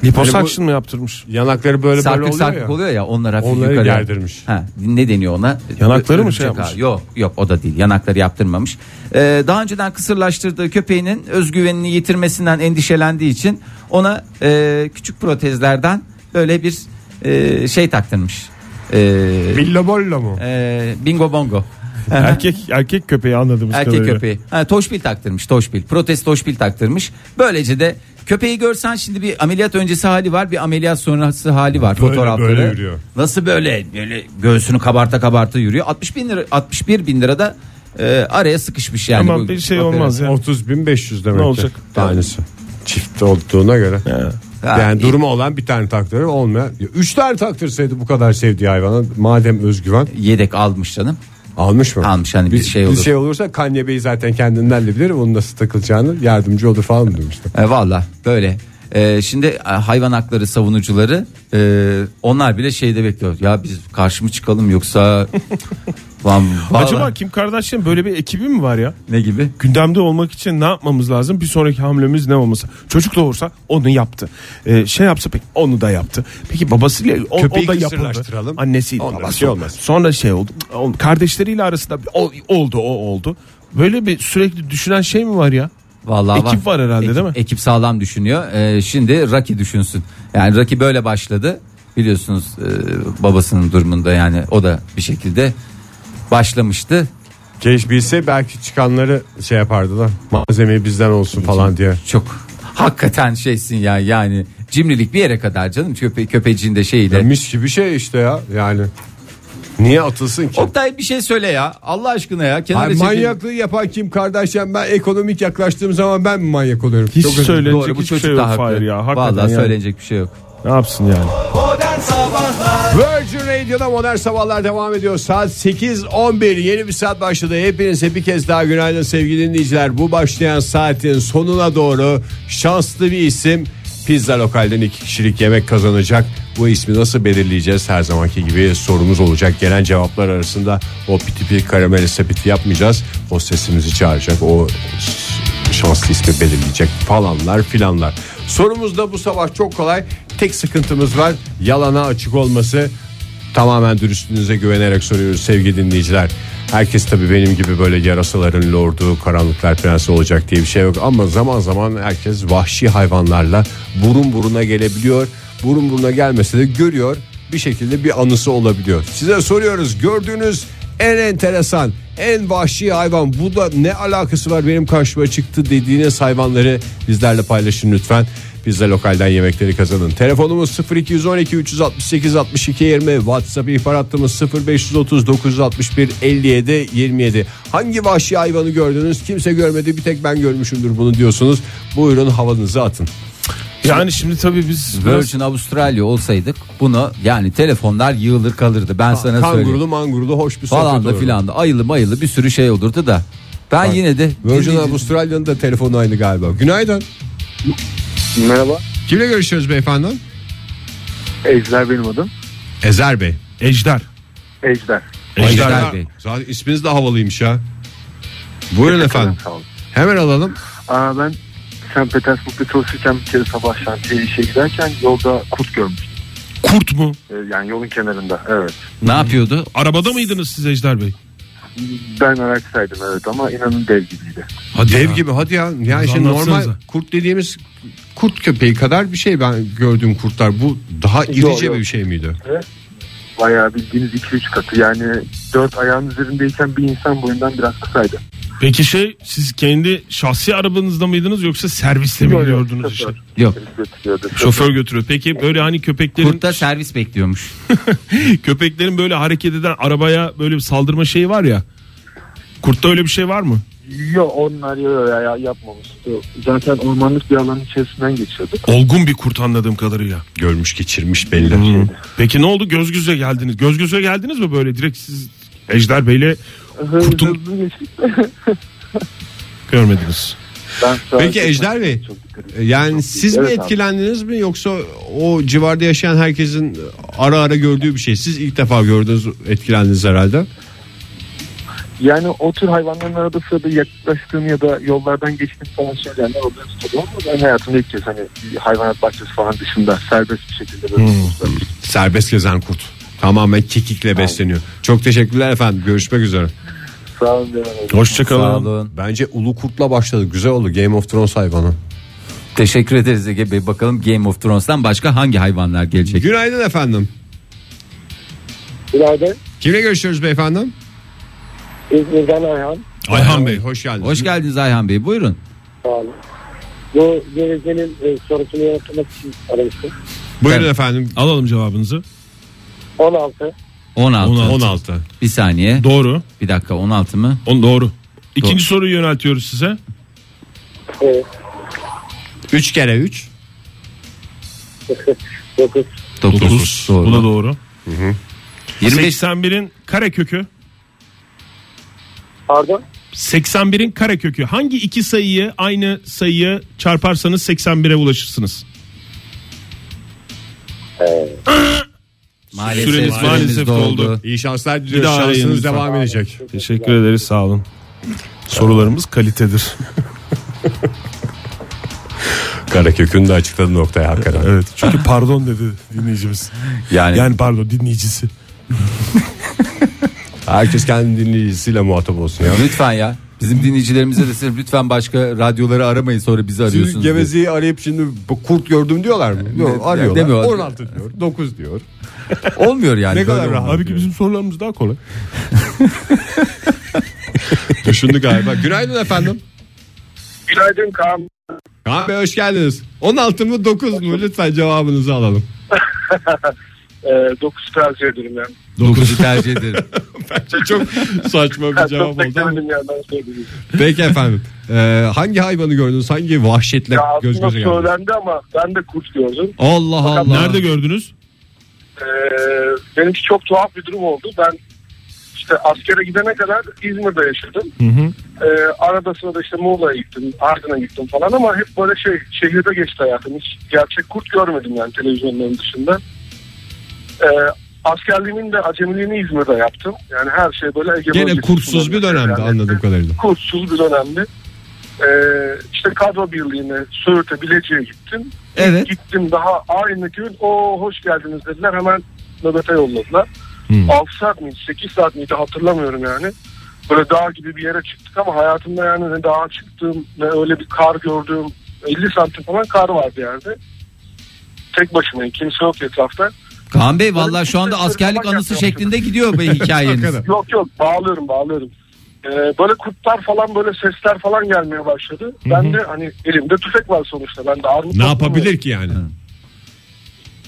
Speaker 4: Liposuction mı yaptırmış?
Speaker 3: Yanakları böyle böyle
Speaker 5: sarkık
Speaker 3: oluyor
Speaker 5: sarkık
Speaker 3: ya.
Speaker 5: oluyor ya onlar hafif
Speaker 3: Onları
Speaker 5: yukarı.
Speaker 3: gerdirmiş.
Speaker 5: Ha, ne deniyor ona?
Speaker 4: Yanakları mı
Speaker 5: Örümcek
Speaker 4: şey yapmış?
Speaker 5: ağı. Yok yok o da değil yanakları yaptırmamış. Ee, daha önceden kısırlaştırdığı köpeğinin özgüvenini yitirmesinden endişelendiği için ona e, küçük protezlerden böyle bir e, şey taktırmış. E,
Speaker 3: Billa bolla mu?
Speaker 5: e, bingo bongo.
Speaker 4: erkek erkek köpeği anladığımız
Speaker 5: Erkek
Speaker 4: kadarıyla.
Speaker 5: köpeği. Ha, toşbil taktırmış toşbil. Protez toşbil taktırmış. Böylece de köpeği görsen şimdi bir ameliyat öncesi hali var bir ameliyat sonrası hali var fotoğrafları.
Speaker 3: böyle yürüyor.
Speaker 5: Nasıl böyle böyle göğsünü kabarta kabarta yürüyor. 60 bin lira 61 bin lira da e, araya sıkışmış yani.
Speaker 4: Ama
Speaker 5: bu
Speaker 4: bir şey
Speaker 5: operasyon.
Speaker 4: olmaz ya.
Speaker 3: 30.500 demek
Speaker 4: Ne
Speaker 3: ki
Speaker 4: olacak?
Speaker 3: Tanesi. Çift olduğuna göre.
Speaker 5: Ha,
Speaker 3: yani
Speaker 5: iyi.
Speaker 3: durumu olan bir tane taktırır olmayan. Ya Üç tane taktırsaydı bu kadar sevdiği hayvana madem özgüven
Speaker 5: Yedek almış canım.
Speaker 3: almış mı?
Speaker 5: Almış, hani bir şey olur.
Speaker 3: olursa Kanye Bey zaten kendinden de bilir onun nasıl takılacağını yardımcı olur falan mı demişler.
Speaker 5: E, Valla böyle. E, şimdi e, hayvan hakları savunucuları e, onlar bile şeyde bekliyor. Ya biz karşı mı çıkalım yoksa... Lan, vallahi-
Speaker 4: Acaba Kim Kardashian böyle bir ekibi mi var ya?
Speaker 5: ne gibi?
Speaker 4: Gündemde olmak için ne yapmamız lazım? Bir sonraki hamlemiz ne olması? Çocuk doğursa onu yaptı. Ee, şey yapsa peki onu da yaptı. Peki babasıyla o,
Speaker 3: Köpeği
Speaker 4: o da
Speaker 3: kısırlaştıralım.
Speaker 4: yapıldı. Annesiyle
Speaker 3: Ondan
Speaker 4: babası
Speaker 3: şey
Speaker 4: oldu.
Speaker 3: olmaz.
Speaker 4: Sonra şey oldu. O- Kardeşleriyle arasında bir- o- oldu o oldu. Böyle bir sürekli düşünen şey mi var ya?
Speaker 5: Vallahi
Speaker 4: Ekip var herhalde
Speaker 5: Ekip-
Speaker 4: değil mi?
Speaker 5: Ekip sağlam düşünüyor. Ee, şimdi Rocky düşünsün. Yani Rocky böyle başladı. Biliyorsunuz e, babasının durumunda yani o da bir şekilde başlamıştı.
Speaker 3: Keşke bilse belki çıkanları şey yapardılar. Malzemeyi bizden olsun falan diye.
Speaker 5: Çok hakikaten şeysin ya yani cimrilik bir yere kadar canım köpe köpeciğin de
Speaker 3: Ya
Speaker 5: şeyiyle.
Speaker 3: mis gibi şey işte ya yani. Niye atılsın ki?
Speaker 5: Oktay bir şey söyle ya. Allah aşkına ya. Kenara
Speaker 3: Ay,
Speaker 5: çekil.
Speaker 3: manyaklığı yapan kim kardeşim ben ekonomik yaklaştığım zaman ben mi manyak oluyorum?
Speaker 4: Hiç
Speaker 3: Çok özür dilerim.
Speaker 4: söylenecek
Speaker 5: Doğru bu
Speaker 4: hiçbir
Speaker 5: çocuk
Speaker 4: şey
Speaker 5: da
Speaker 4: yok
Speaker 5: haklı.
Speaker 4: Fahir ya. Hakikaten
Speaker 5: Vallahi
Speaker 4: yani.
Speaker 5: söylenecek bir şey yok.
Speaker 4: Ne yapsın yani?
Speaker 2: Modern Sabahlar
Speaker 3: Virgin Radio'da modern sabahlar devam ediyor. Saat 8.11 yeni bir saat başladı. Hepinize bir kez daha günaydın sevgili dinleyiciler. Bu başlayan saatin sonuna doğru şanslı bir isim pizza lokalden iki kişilik yemek kazanacak. Bu ismi nasıl belirleyeceğiz her zamanki gibi sorumuz olacak. Gelen cevaplar arasında o piti piti karamel sepeti yapmayacağız. O sesimizi çağıracak. O şanslı ismi belirleyecek falanlar filanlar. Sorumuz da bu sabah çok kolay. Tek sıkıntımız var yalana açık olması. Tamamen dürüstlüğünüze güvenerek soruyoruz sevgili dinleyiciler. Herkes tabii benim gibi böyle yarasaların lordu, karanlıklar prensi olacak diye bir şey yok. Ama zaman zaman herkes vahşi hayvanlarla burun buruna gelebiliyor. Burun buruna gelmese de görüyor bir şekilde bir anısı olabiliyor. Size soruyoruz gördüğünüz en enteresan, en vahşi hayvan bu da ne alakası var benim karşıma çıktı dediğiniz hayvanları bizlerle paylaşın lütfen. Biz de lokalden yemekleri kazanın. Telefonumuz 0212 368 62 20 WhatsApp ihbar hattımız 0530 961 57 27. Hangi vahşi hayvanı gördünüz? Kimse görmedi bir tek ben görmüşümdür bunu diyorsunuz. Buyurun havanızı atın.
Speaker 4: Yani şimdi tabii biz
Speaker 5: Virgin Avustralya olsaydık bunu yani telefonlar yığılır kalırdı. Ben sana söyleyeyim.
Speaker 3: Kangurulu mangurulu hoş bir
Speaker 5: falan
Speaker 3: sohbet
Speaker 5: da
Speaker 3: olur.
Speaker 5: filan da ayılı mayılı bir sürü şey olurdu da. Ben yine de
Speaker 3: Virgin
Speaker 5: dinleyici-
Speaker 3: Avustralya'nın da telefonu aynı galiba. Günaydın.
Speaker 6: Merhaba.
Speaker 3: Kimle görüşüyoruz beyefendi?
Speaker 6: Ejder benim adım.
Speaker 3: Ezer Bey.
Speaker 4: Ejder.
Speaker 6: Ejder.
Speaker 5: Ejder
Speaker 3: Ejder
Speaker 5: Bey.
Speaker 3: Zaten isminiz de havalıymış ya. Buyurun efendim.
Speaker 6: Sağ olun.
Speaker 3: Hemen alalım.
Speaker 6: Aa, ben St. Petersburg'da çalışırken bir kere sabah şantiye işe giderken yolda kurt görmüştüm.
Speaker 4: Kurt mu?
Speaker 6: Ee, yani yolun kenarında evet.
Speaker 5: ne yapıyordu?
Speaker 4: Arabada mıydınız siz Ejder Bey?
Speaker 6: Ben araçtaydım evet ama inanın dev gibiydi.
Speaker 3: Hadi Dev gibi hadi ya. Yani şimdi normal
Speaker 4: anlatsanıza.
Speaker 3: kurt dediğimiz kurt köpeği kadar bir şey ben gördüğüm kurtlar. Bu daha irice
Speaker 6: yok.
Speaker 3: bir şey miydi?
Speaker 6: Bayağı bildiğiniz 2-3 katı yani dört ayağın üzerindeyken bir insan boyundan biraz kısaydı.
Speaker 4: Peki şey siz kendi şahsi arabanızda mıydınız yoksa serviste mi
Speaker 6: Yok, yok,
Speaker 4: gidiyordunuz işte?
Speaker 6: şoför.
Speaker 5: Yok.
Speaker 6: Biz götürüyordu.
Speaker 4: Şoför götürüyor. Peki böyle hani köpeklerin
Speaker 5: Kurtta servis bekliyormuş.
Speaker 4: köpeklerin böyle hareket eden arabaya böyle bir saldırma şeyi var ya. Kurtta öyle bir şey var mı?
Speaker 6: Yok onlar yok ya, ya, yapmamıştı. Zaten ormanlık bir alanın içerisinden geçiyorduk.
Speaker 4: Olgun bir kurt anladığım kadarıyla.
Speaker 3: Görmüş geçirmiş belli.
Speaker 4: Peki ne oldu? Göz göze geldiniz. Göz göze geldiniz mi böyle direkt siz Ejder Bey'le
Speaker 6: Hızlı
Speaker 4: Kurtun-
Speaker 6: hızlı geçtik.
Speaker 4: görmediniz?
Speaker 6: Ben sağa
Speaker 3: Peki
Speaker 6: çok-
Speaker 3: Ejder Bey.
Speaker 6: çok dikkat ettim.
Speaker 3: Yani siz mi
Speaker 6: Evet abi.
Speaker 3: etkilendiniz mi yoksa o civarda yaşayan herkesin ara ara gördüğü bir şey. Siz ilk defa gördünüz etkilendiniz herhalde.
Speaker 6: Yani o tür hayvanların arada sırada yaklaştığım ya da yollardan geçtiğim falan şeylerle orada tutuyorum. Ama ben hayatımda ilk kez hani bir hayvanat bahçesi falan dışında serbest bir şekilde
Speaker 3: Hmm.
Speaker 6: böyle tuttum.
Speaker 3: Serbest gezen kurt. Tamamen kekikle besleniyor. Çok teşekkürler efendim. Görüşmek üzere.
Speaker 6: Sağ olun. Eren Bey.
Speaker 5: Sağ
Speaker 4: Hoşçakalın.
Speaker 5: olun.
Speaker 3: Bence ulu kurtla başladı. Güzel oldu. Game of Thrones hayvanı.
Speaker 5: Teşekkür ederiz Ege Bey. Bakalım Game of Thrones'tan başka hangi hayvanlar gelecek?
Speaker 3: Günaydın efendim.
Speaker 6: Günaydın.
Speaker 3: Kimle görüşüyoruz beyefendi?
Speaker 6: İzmir'den Ayhan.
Speaker 3: Ayhan Bey hoş geldiniz.
Speaker 5: Hoş geldiniz Ayhan Bey. Buyurun.
Speaker 6: Sağ olun. Bu gerekenin e, sorusunu yanıtlamak için aramıştım.
Speaker 3: Buyurun
Speaker 5: Evet.
Speaker 3: efendim.
Speaker 4: Alalım cevabınızı.
Speaker 6: 16.
Speaker 5: 16.
Speaker 4: 16.
Speaker 3: 16.
Speaker 5: Bir saniye.
Speaker 4: Doğru.
Speaker 5: bir dakika 16 mı?
Speaker 4: On doğru. İkinci soruyu yöneltiyoruz size.
Speaker 6: E,
Speaker 3: 3 kere 3.
Speaker 6: 9.
Speaker 5: 9.
Speaker 4: Dokuz.
Speaker 5: Doğru.
Speaker 4: Bu da doğru.
Speaker 5: 25
Speaker 4: 81'in kare kökü.
Speaker 6: Pardon.
Speaker 4: 81'in kare kökü. Hangi iki sayıyı aynı sayıyı çarparsanız 81'e ulaşırsınız?
Speaker 5: maalesef,
Speaker 4: Süreniz
Speaker 5: süremiz
Speaker 4: maalesef
Speaker 5: doldu.
Speaker 4: doldu.
Speaker 3: İyi şanslar
Speaker 4: Bir
Speaker 3: diliyoruz.
Speaker 4: daha arayın
Speaker 3: Şansınız
Speaker 4: lütfen.
Speaker 3: devam edecek.
Speaker 4: Teşekkür ederiz sağ olun. Sorularımız kalitedir.
Speaker 3: Karakök'ün de açıkladığı noktaya hakikaten.
Speaker 4: Evet. Çünkü pardon dedi dinleyicimiz.
Speaker 5: Yani,
Speaker 4: Yani pardon dinleyicisi.
Speaker 3: Herkes kendi dinleyicisiyle muhatap olsun ya.
Speaker 5: lütfen ya. Bizim dinleyicilerimize de sırf lütfen başka radyoları aramayın sonra bizi arıyorsunuz. diye.
Speaker 3: Gevezeyi arayıp şimdi bu kurt gördüm diyorlar mı? Yok arıyorlar.
Speaker 5: demiyorlar.
Speaker 3: 16 diyor, 9 diyor.
Speaker 5: Olmuyor yani.
Speaker 3: Ne kadar
Speaker 5: böyle
Speaker 3: rahat.
Speaker 5: olmuyor.
Speaker 4: Abi ki bizim sorularımız daha kolay.
Speaker 3: Düşündü galiba. Günaydın efendim.
Speaker 6: Günaydın Kaan.
Speaker 3: Kaan Bey hoş geldiniz. 16 mı 9 mu? Lütfen cevabınızı alalım.
Speaker 6: 9 Ee, tercih ederim yani.
Speaker 5: Dokuzu tercih ederim.
Speaker 3: Çok saçma bir cevap oldu ama. Peki efendim. Ee, hangi hayvanı gördünüz? Hangi vahşetle
Speaker 6: Ya
Speaker 3: göz
Speaker 6: aslında
Speaker 3: göze geldiniz?
Speaker 6: söylendi ama ben de kurt gördüm.
Speaker 3: Allah Allah.
Speaker 4: Nerede gördünüz?
Speaker 6: Ee, benimki çok tuhaf bir durum oldu. Ben işte askere gidene kadar İzmir'de yaşadım. Ee, arada sırada işte Muğla'ya gittim, Ardahan'a gittim falan ama hep böyle şey şehirde geçti hayatım. Hiç gerçek kurt görmedim yani televizyonların dışında. Ee, askerliğimin de acemiliğini İzmir'de yaptım. Yani her şey böyle Ege
Speaker 3: Gene
Speaker 6: bölgesi
Speaker 3: kurtsuz bir
Speaker 6: kullanıyor.
Speaker 3: dönemdi
Speaker 6: Yani
Speaker 3: anladığım kadarıyla.
Speaker 6: Kurtsuz bir dönemdi. Ee, işte kadro birliğine, Söğüt'e, Bilecik'e gittim.
Speaker 5: evet.
Speaker 6: Gittim daha aynı gün o hoş geldiniz dediler hemen nöbete yolladılar.
Speaker 3: Hmm.
Speaker 6: 6 saat miydi 8 saat miydi hatırlamıyorum yani. Böyle dağ gibi bir yere çıktık ama hayatımda yani ne dağa çıktım ne öyle bir kar gördüm. 50 santim falan kar vardı yerde. Tek başıma kimse yok etrafta.
Speaker 5: Kaan Bey vallahi şu anda askerlik anısı şeklinde gidiyor be hikayeniz.
Speaker 6: Yok yok bağlıyorum bağlıyorum. Ee, böyle kurtlar falan böyle sesler falan gelmeye başladı. Ben de hani elimde tüfek var sonuçta. Ben de armut
Speaker 3: Ne
Speaker 6: toplamıyorum.
Speaker 3: yapabilir ki yani?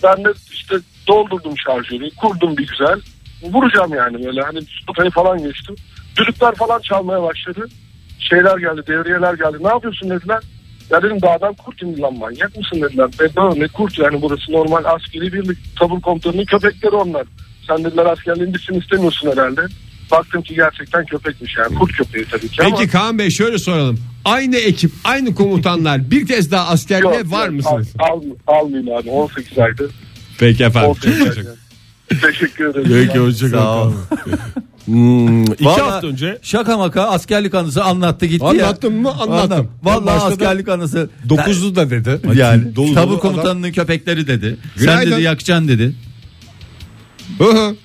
Speaker 6: Ben de işte doldurdum şarjörü, kurdum bir güzel. Vuracağım yani böyle hani sopayı falan geçtim. Düdükler falan çalmaya başladı. Şeyler geldi, devriyeler geldi. Ne yapıyorsun dediler. Ya dedim dağdan kurt indi lan manyak mısın dediler. Ben ne kurt yani burası normal askeri birlik tabur komutanının köpekleri onlar. Sen dediler askerliğin bitsin istemiyorsun herhalde. Baktım ki gerçekten köpekmiş yani kurt köpeği tabii ki ama.
Speaker 3: Peki Kaan Bey şöyle soralım. Aynı ekip, aynı komutanlar bir kez daha askerliğe
Speaker 6: Yok,
Speaker 3: var
Speaker 6: yok,
Speaker 3: mısınız?
Speaker 6: Al, almayın- almayın abi 18 aydı.
Speaker 3: Peki efendim.
Speaker 6: 18 aydı. Teşekkür ederim.
Speaker 5: Sağ ol.
Speaker 4: Hmm, iki
Speaker 5: Vallahi
Speaker 4: hafta önce
Speaker 5: Şaka maka askerlik anısı anlattı gitti ya.
Speaker 3: Anlattım mı? Anlattım.
Speaker 5: Vallahi
Speaker 3: Başta da
Speaker 5: askerlik anısı.
Speaker 3: Dokuzlu da dedi.
Speaker 5: yani
Speaker 3: Dolu
Speaker 5: tabur
Speaker 3: dolu adam.
Speaker 5: komutanının köpekleri dedi.
Speaker 3: Günaydın.
Speaker 5: Sen dedi yakacaksın dedi.
Speaker 3: Hı hı.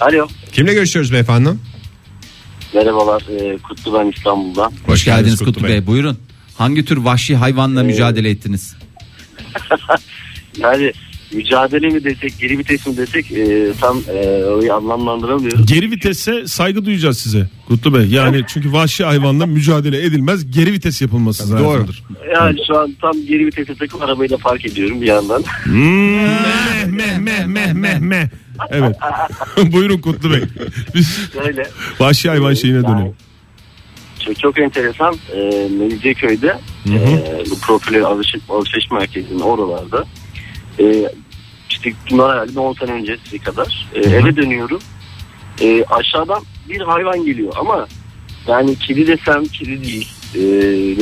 Speaker 7: Alo.
Speaker 3: Kimle görüşüyoruz beyefendi?
Speaker 7: Merhabalar. Ee, Kutlu ben İstanbul'dan.
Speaker 5: Hoş, geldiniz Kutlu, Bey. Buyurun. Hangi tür vahşi hayvanla mücadele ettiniz?
Speaker 7: Yani mücadele mi desek geri vites mi desek e, tam e, orayı anlamlandıramıyoruz.
Speaker 4: geri vitese saygı duyacağız size. Kutlu Bey. Yani çünkü vahşi hayvanla mücadele edilmez. Geri vites yapılması zaten.
Speaker 3: Doğrudur.
Speaker 7: Yani şu an tam geri vitese takıp arabayı da park ediyorum bir yandan.
Speaker 4: Hmm. Meh meh meh meh meh meh. Evet. Buyurun Kutlu Bey. Biz
Speaker 7: Böyle.
Speaker 4: vahşi hayvan şeyine dönelim.
Speaker 7: Çok, çok enteresan. E, Mecidiyeköy'de e, bu profili alışveriş, alışveriş merkezinin oralarda. E, işte bunlar herhalde 10 sene öncesi kadar. E, eve dönüyorum. E, aşağıdan bir hayvan geliyor ama yani kedi desem kedi değil. E,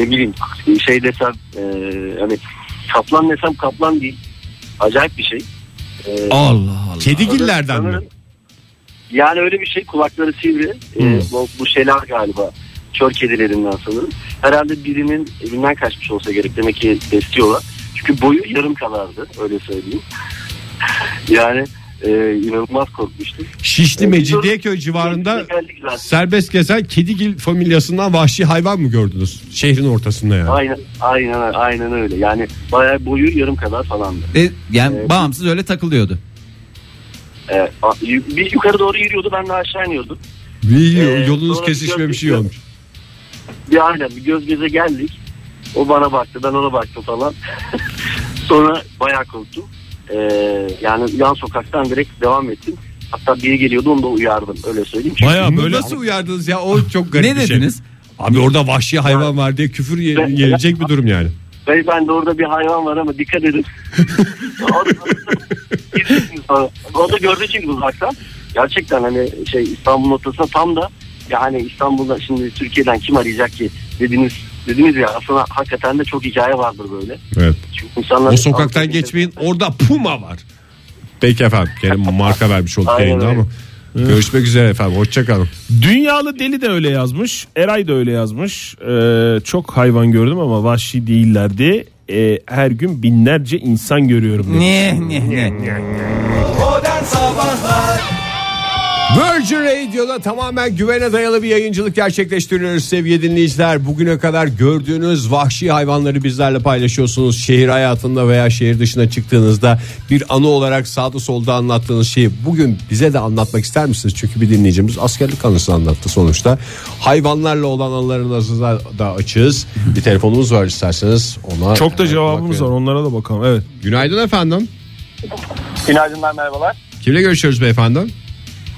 Speaker 7: ne bileyim şey desem e, hani kaplan desem kaplan değil. Acayip bir şey. E,
Speaker 5: Allah Allah.
Speaker 3: Kedigillerden mi?
Speaker 7: sanırım- Yani öyle bir şey kulakları sivri. Ee,
Speaker 3: Hmm.
Speaker 7: bu, bu şeyler galiba. Çöl kedilerinden sanırım. Herhalde birinin evinden kaçmış olsa gerek. Demek ki besliyorlar. Çünkü boyu yarım kadardı. Öyle söyleyeyim. yani e, inanılmaz korkmuştum.
Speaker 3: Şişli
Speaker 7: Evet,
Speaker 3: Mecidiyeköy civarında
Speaker 7: Geldik zaten.
Speaker 3: serbest gezen kedigil familyasından vahşi hayvan mı gördünüz? Şehrin ortasında yani.
Speaker 7: Aynen, aynen, aynen öyle. Yani bayağı boyu yarım kadar falandı.
Speaker 5: E, yani
Speaker 3: Ee,
Speaker 5: bağımsız öyle takılıyordu.
Speaker 7: Ee, a- yu- bir yukarı doğru yürüyordu ben de aşağı iniyordum.
Speaker 3: Bir
Speaker 7: Ee,
Speaker 3: yolunuz
Speaker 7: sonra
Speaker 3: kesişme bir şey
Speaker 7: gördük.
Speaker 3: olmuş.
Speaker 7: Bir aynen bir göz göze geldik. O bana baktı ben ona baktım falan. Sonra bayağı korktum. Ee, yani yan sokaktan direkt devam ettim. Hatta biri geliyordu onu da uyardım öyle söyleyeyim. Çünkü
Speaker 3: Baya böyle nasıl uyardınız ya o çok garip
Speaker 5: Ne
Speaker 3: bir şey.
Speaker 5: dediniz?
Speaker 3: Abi orada vahşi hayvan var diye küfür ye-
Speaker 7: Ben-
Speaker 3: gelecek bir durum yani.
Speaker 7: ben, ben de orada bir hayvan var ama dikkat edin. o, da- o da gördü çünkü uzaktan. Gerçekten hani şey İstanbul noktasında tam da yani İstanbul'da şimdi Türkiye'den kim arayacak ki dediniz dediniz ya aslında hakikaten de çok hikaye vardır böyle.
Speaker 3: Evet.
Speaker 7: Çünkü insanlar
Speaker 3: O sokaktan geçmeyin orada puma var. Peki efendim. Gene marka vermiş olduk
Speaker 7: Aynen
Speaker 3: yayında
Speaker 7: öyle.
Speaker 3: ama. Görüşmek üzere efendim. Hoşçakalın.
Speaker 4: Dünyalı Deli de öyle yazmış. Eray da öyle yazmış. Ee, çok hayvan gördüm ama vahşi değillerdi. Ee, her gün binlerce insan görüyorum. demiş.
Speaker 3: şey.
Speaker 5: Ne ne ne.
Speaker 2: Modern Sabahlar
Speaker 3: Virgin Radio'da tamamen güvene dayalı bir yayıncılık gerçekleştiriyoruz sevgili dinleyiciler. Bugüne kadar gördüğünüz vahşi hayvanları bizlerle paylaşıyorsunuz. Şehir hayatında veya şehir dışına çıktığınızda bir anı olarak sağda solda anlattığınız şeyi bugün bize de anlatmak ister misiniz? Çünkü bir dinleyicimiz askerlik anısını anlattı sonuçta. Hayvanlarla olan anılarınızı da açığız. Bir telefonumuz var isterseniz ona.
Speaker 4: Çok da
Speaker 3: hemen
Speaker 4: cevabımız var
Speaker 3: bakıyorum.
Speaker 4: onlara da bakalım. Evet.
Speaker 3: Günaydın efendim.
Speaker 8: Günaydınlar merhabalar.
Speaker 3: Kimle görüşüyoruz beyefendi?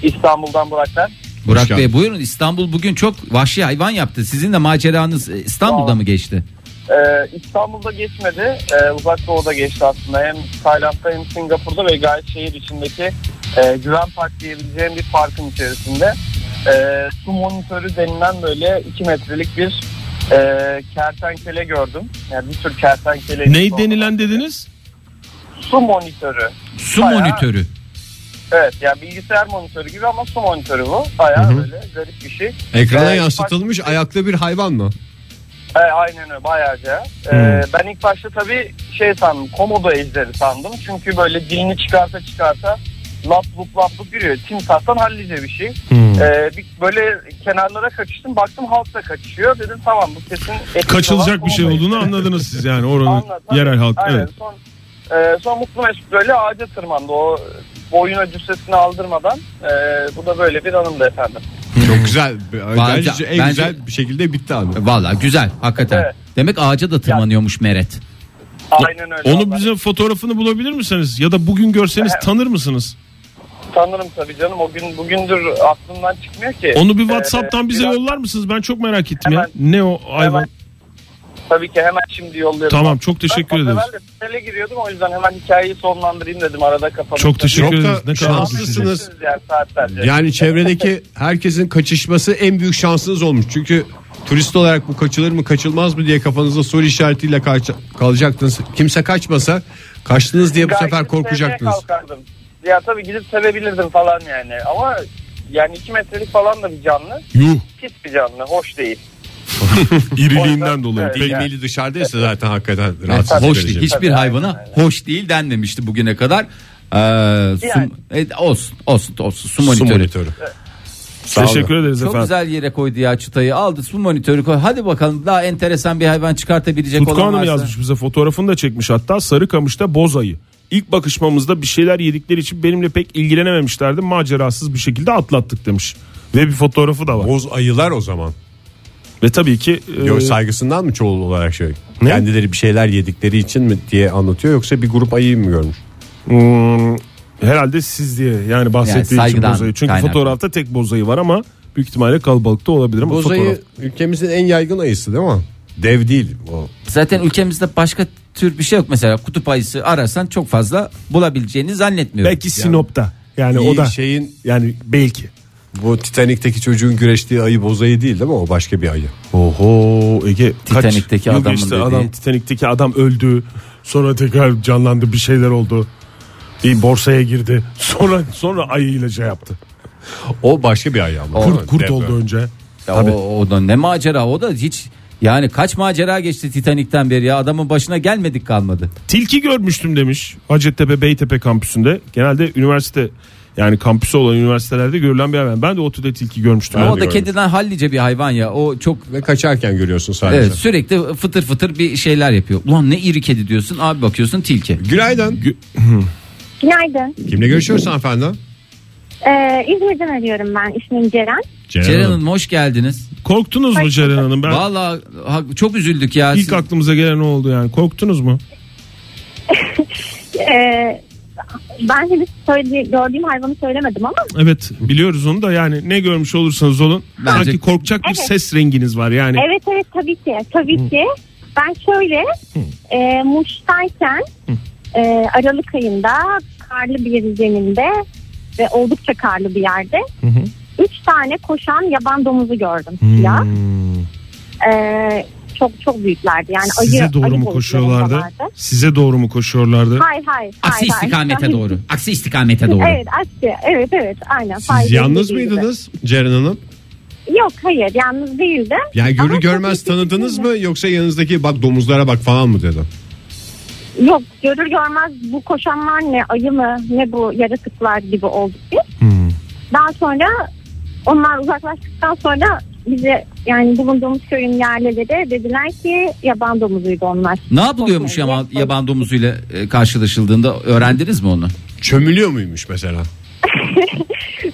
Speaker 8: İstanbul'dan Burak ben.
Speaker 5: Burak
Speaker 3: Hoş geldin.
Speaker 5: Bey buyurun İstanbul bugün çok vahşi hayvan yaptı. Sizin de maceranız e, İstanbul'da
Speaker 8: Aa.
Speaker 5: mı geçti?
Speaker 8: Ee, İstanbul'da geçmedi. Ee, uzak doğuda geçti aslında. Hem Tayland'da hem Singapur'da ve gayet şehir içindeki e, Güven Park diyebileceğim bir parkın içerisinde. E, su monitörü denilen böyle 2 metrelik bir e, kertenkele gördüm. Yani bir tür kertenkele.
Speaker 4: Ney denilen dediniz?
Speaker 8: Su monitörü.
Speaker 5: Su
Speaker 8: Bayağı-
Speaker 5: monitörü.
Speaker 8: Evet yani bilgisayar monitörü gibi ama su monitörü bu. Bayağı böyle garip bir şey.
Speaker 3: Ekrana
Speaker 8: Ee,
Speaker 3: yansıtılmış ayaklı bir hayvan mı?
Speaker 8: E, aynen öyle bayağıca. E,
Speaker 4: Hmm.
Speaker 8: ben ilk başta tabii şey sandım komodo ejderi sandım. Çünkü böyle dilini çıkarta çıkarta lap lup lap lup yürüyor. Timsahtan hallice bir şey.
Speaker 4: Hmm.
Speaker 8: E, bir, böyle kenarlara kaçıştım baktım halk da kaçışıyor. Dedim tamam bu kesin etkisi
Speaker 4: Kaçılacak
Speaker 8: olan
Speaker 4: bir şey
Speaker 8: komodo
Speaker 4: olduğunu
Speaker 8: ejderi.
Speaker 4: anladınız siz yani oranın
Speaker 8: Anladım.
Speaker 4: yerel halk.
Speaker 8: Aynen.
Speaker 4: Evet.
Speaker 8: Son, e, son Mutlu Mesut böyle ağaca tırmandı. O boyuna cüssesini aldırmadan. E, bu da böyle bir anımdı efendim.
Speaker 3: Çok güzel.
Speaker 5: Bence-
Speaker 3: Bence en
Speaker 5: bence-
Speaker 3: güzel bir şekilde bitti abi.
Speaker 5: Valla güzel hakikaten.
Speaker 8: Evet.
Speaker 5: Demek ağaca da tırmanıyormuş Meret.
Speaker 8: Aynen öyle.
Speaker 4: Onu
Speaker 8: vallahi.
Speaker 4: bize fotoğrafını bulabilir misiniz? Ya da bugün görseniz tanır mısınız?
Speaker 8: Tanırım tabii canım. O gün bugündür aklımdan çıkmıyor ki.
Speaker 4: Onu bir
Speaker 8: Ee,
Speaker 4: WhatsApp'tan bize
Speaker 8: biraz-
Speaker 4: yollar mısınız? Ben çok merak ettim ya.
Speaker 8: Hemen-
Speaker 4: Ne o hayvan?
Speaker 8: Hemen- Tabii ki hemen şimdi yolluyorum.
Speaker 4: Tamam çok teşekkür
Speaker 8: ben,
Speaker 4: ederiz.
Speaker 8: Ben de tele giriyordum o yüzden hemen hikayeyi sonlandırayım dedim arada kapalı.
Speaker 4: Çok teşekkür
Speaker 3: Çok da
Speaker 4: ederiz. Ne kadar
Speaker 3: şanslısınız.
Speaker 4: haklısınız.
Speaker 8: Yani saatlerce.
Speaker 3: Yani çevredeki herkesin kaçışması en büyük şansınız olmuş. Çünkü turist olarak bu kaçılır mı kaçılmaz mı diye kafanızda soru işaretiyle karşı- kalacaktınız. Kimse kaçmasa kaçtınız diye bu
Speaker 8: Gayet
Speaker 3: sefer
Speaker 8: sevmeye
Speaker 3: korkacaktınız.
Speaker 8: kalkardım. Ya tabii gidip sevebilirdim falan yani ama yani iki metrelik falan da bir canlı.
Speaker 3: Yuh.
Speaker 8: Pis bir canlı, hoş değil.
Speaker 4: İriliğinden dolayı.
Speaker 8: Evet,
Speaker 4: Peki.
Speaker 8: yani.
Speaker 3: Mili dışarıdaysa zaten hakikaten rahatsız
Speaker 5: Hoş
Speaker 3: edici.
Speaker 5: değil. Hiçbir
Speaker 8: Tabii,
Speaker 5: hayvana
Speaker 8: aynen
Speaker 5: hoş değil denmemişti bugüne kadar. Ee, su-
Speaker 8: Yani.
Speaker 5: e, olsun olsun olsun su
Speaker 3: Su
Speaker 5: monitörü.
Speaker 3: monitörü.
Speaker 4: Teşekkür ederiz
Speaker 5: Çok
Speaker 4: efendim.
Speaker 5: güzel yere koydu ya çıtayı aldı su monitörü koy. Hadi bakalım daha enteresan bir hayvan çıkartabilecek
Speaker 4: Tutku
Speaker 5: olan
Speaker 4: Hanım
Speaker 5: varsa.
Speaker 4: yazmış bize fotoğrafını da çekmiş hatta Sarıkamış'ta bozayı. İlk bakışmamızda bir şeyler yedikleri için benimle pek ilgilenememişlerdi. Macerasız bir şekilde atlattık demiş. Ve bir fotoğrafı da var.
Speaker 3: Boz ayılar o zaman.
Speaker 4: Ve tabii ki e,
Speaker 3: Yok saygısından mı çoğul olarak şey?
Speaker 4: Ne?
Speaker 3: Kendileri bir şeyler yedikleri için mi diye anlatıyor yoksa bir grup ayıyı mı görmüş?
Speaker 4: hmm, herhalde siz diye yani bahsettiği
Speaker 5: Yani
Speaker 4: için
Speaker 5: saygıdan
Speaker 4: bozayı. Çünkü
Speaker 5: kaynaklı.
Speaker 4: fotoğrafta tek bozayı var ama büyük ihtimalle kalabalıkta olabilir ama fotoğraf.
Speaker 3: Bozayı ülkemizin en yaygın ayısı değil mi? Dev değil o.
Speaker 5: Zaten ülkemizde başka tür bir şey yok mesela kutup ayısı ararsan çok fazla bulabileceğini zannetmiyorum.
Speaker 4: Belki Sinop'ta. Yani o
Speaker 3: İyi
Speaker 4: da
Speaker 5: şey-
Speaker 3: şeyin
Speaker 4: yani belki.
Speaker 3: Bu Titanik'teki çocuğun güreştiği ayı bozayı değil değil mi? O başka bir ayı.
Speaker 4: Oho Ege kaç
Speaker 5: Titanik'teki
Speaker 4: yıl
Speaker 5: adamın
Speaker 4: geçti
Speaker 5: dediği.
Speaker 4: adam Titanik'teki adam öldü. Sonra tekrar canlandı bir şeyler oldu. Bir borsaya girdi. Sonra sonra ayıyla şey yaptı.
Speaker 3: O başka bir ayağım.
Speaker 4: Kurt, kurt oldu önce.
Speaker 5: Ya o, o da ne macera o da hiç yani kaç macera geçti Titanik'ten beri ya adamın başına gelmedik kalmadı.
Speaker 4: Tilki görmüştüm demiş Hacettepe Beytepe kampüsünde. Genelde üniversite yani kampüsü olan üniversitelerde görülen bir hayvan. Ben de ODTÜ'de tilki görmüştüm.
Speaker 5: Ama
Speaker 4: Ben
Speaker 5: o
Speaker 4: de
Speaker 5: da
Speaker 4: gördüm.
Speaker 5: kendinden hallice bir hayvan ya. O çok
Speaker 3: Ve kaçarken görüyorsun sadece.
Speaker 5: evet, sürekli fıtır fıtır bir şeyler yapıyor. Ulan ne iri kedi diyorsun abi bakıyorsun tilki.
Speaker 3: Günaydın.
Speaker 9: Günaydın.
Speaker 3: Kimle görüşüyoruz hanımefendi?
Speaker 9: Ee, İzmir'den arıyorum ben. İsmim Ceren.
Speaker 5: Ceren Hanım hoş geldiniz.
Speaker 4: Korktunuz mu Ceren Hanım? Ben
Speaker 5: Vallahi ha- çok üzüldük ya.
Speaker 4: ilk
Speaker 5: Siz-
Speaker 4: aklımıza gelen o oldu yani. Korktunuz mu?
Speaker 9: Ee, ben henüz söyle- gördüğüm hayvanı söylemedim ama
Speaker 4: Evet biliyoruz onu da yani ne görmüş olursanız olun
Speaker 5: Bence-
Speaker 4: sanki korkacak bir
Speaker 9: Evet.
Speaker 4: ses renginiz var yani.
Speaker 9: evet evet tabii ki. Tabii ki. Ben şöyle e, Muş'tayken e, Aralık ayında karlı bir zeminde ve oldukça karlı bir yerde üç tane koşan yaban domuzu gördüm.
Speaker 4: Hmm.
Speaker 9: Ya. Ee, çok çok büyüklerdi. Yani
Speaker 4: Size
Speaker 9: ayı,
Speaker 4: doğru
Speaker 9: ayı
Speaker 4: mu koşuyorlardı?
Speaker 9: boyutlarındalardı.
Speaker 4: Size doğru mu koşuyorlardı?
Speaker 9: Hayır hayır.
Speaker 5: Aksi
Speaker 9: hayır, hayır.
Speaker 5: istikamete doğru. Aksi istikamete doğru.
Speaker 9: Evet Asya. Evet evet aynen.
Speaker 3: Siz yalnız mıydınız Ceren Hanım?
Speaker 9: Yok hayır yalnız değildim.
Speaker 3: Yani
Speaker 9: Ama
Speaker 3: görü görmez
Speaker 9: tabii ki
Speaker 3: tanıdınız
Speaker 9: sizinle.
Speaker 3: mı yoksa yanınızdaki bak domuzlara bak falan mı dedim.
Speaker 9: Yok görür görmez bu koşanlar ne ayı mı ne bu yaratıklar gibi olduk biz.
Speaker 3: Hmm.
Speaker 9: Daha sonra onlar uzaklaştıktan sonra bize yani bulunduğumuz köyün yerlileri dediler ki yaban domuzuydu onlar.
Speaker 5: Ne yapılıyormuş
Speaker 9: Korkmayın,
Speaker 5: yaman,
Speaker 9: korkmayın.
Speaker 5: yaban domuzuyla e, karşılaşıldığında öğrendiniz mi onu?
Speaker 3: Çömülüyor muymuş mesela?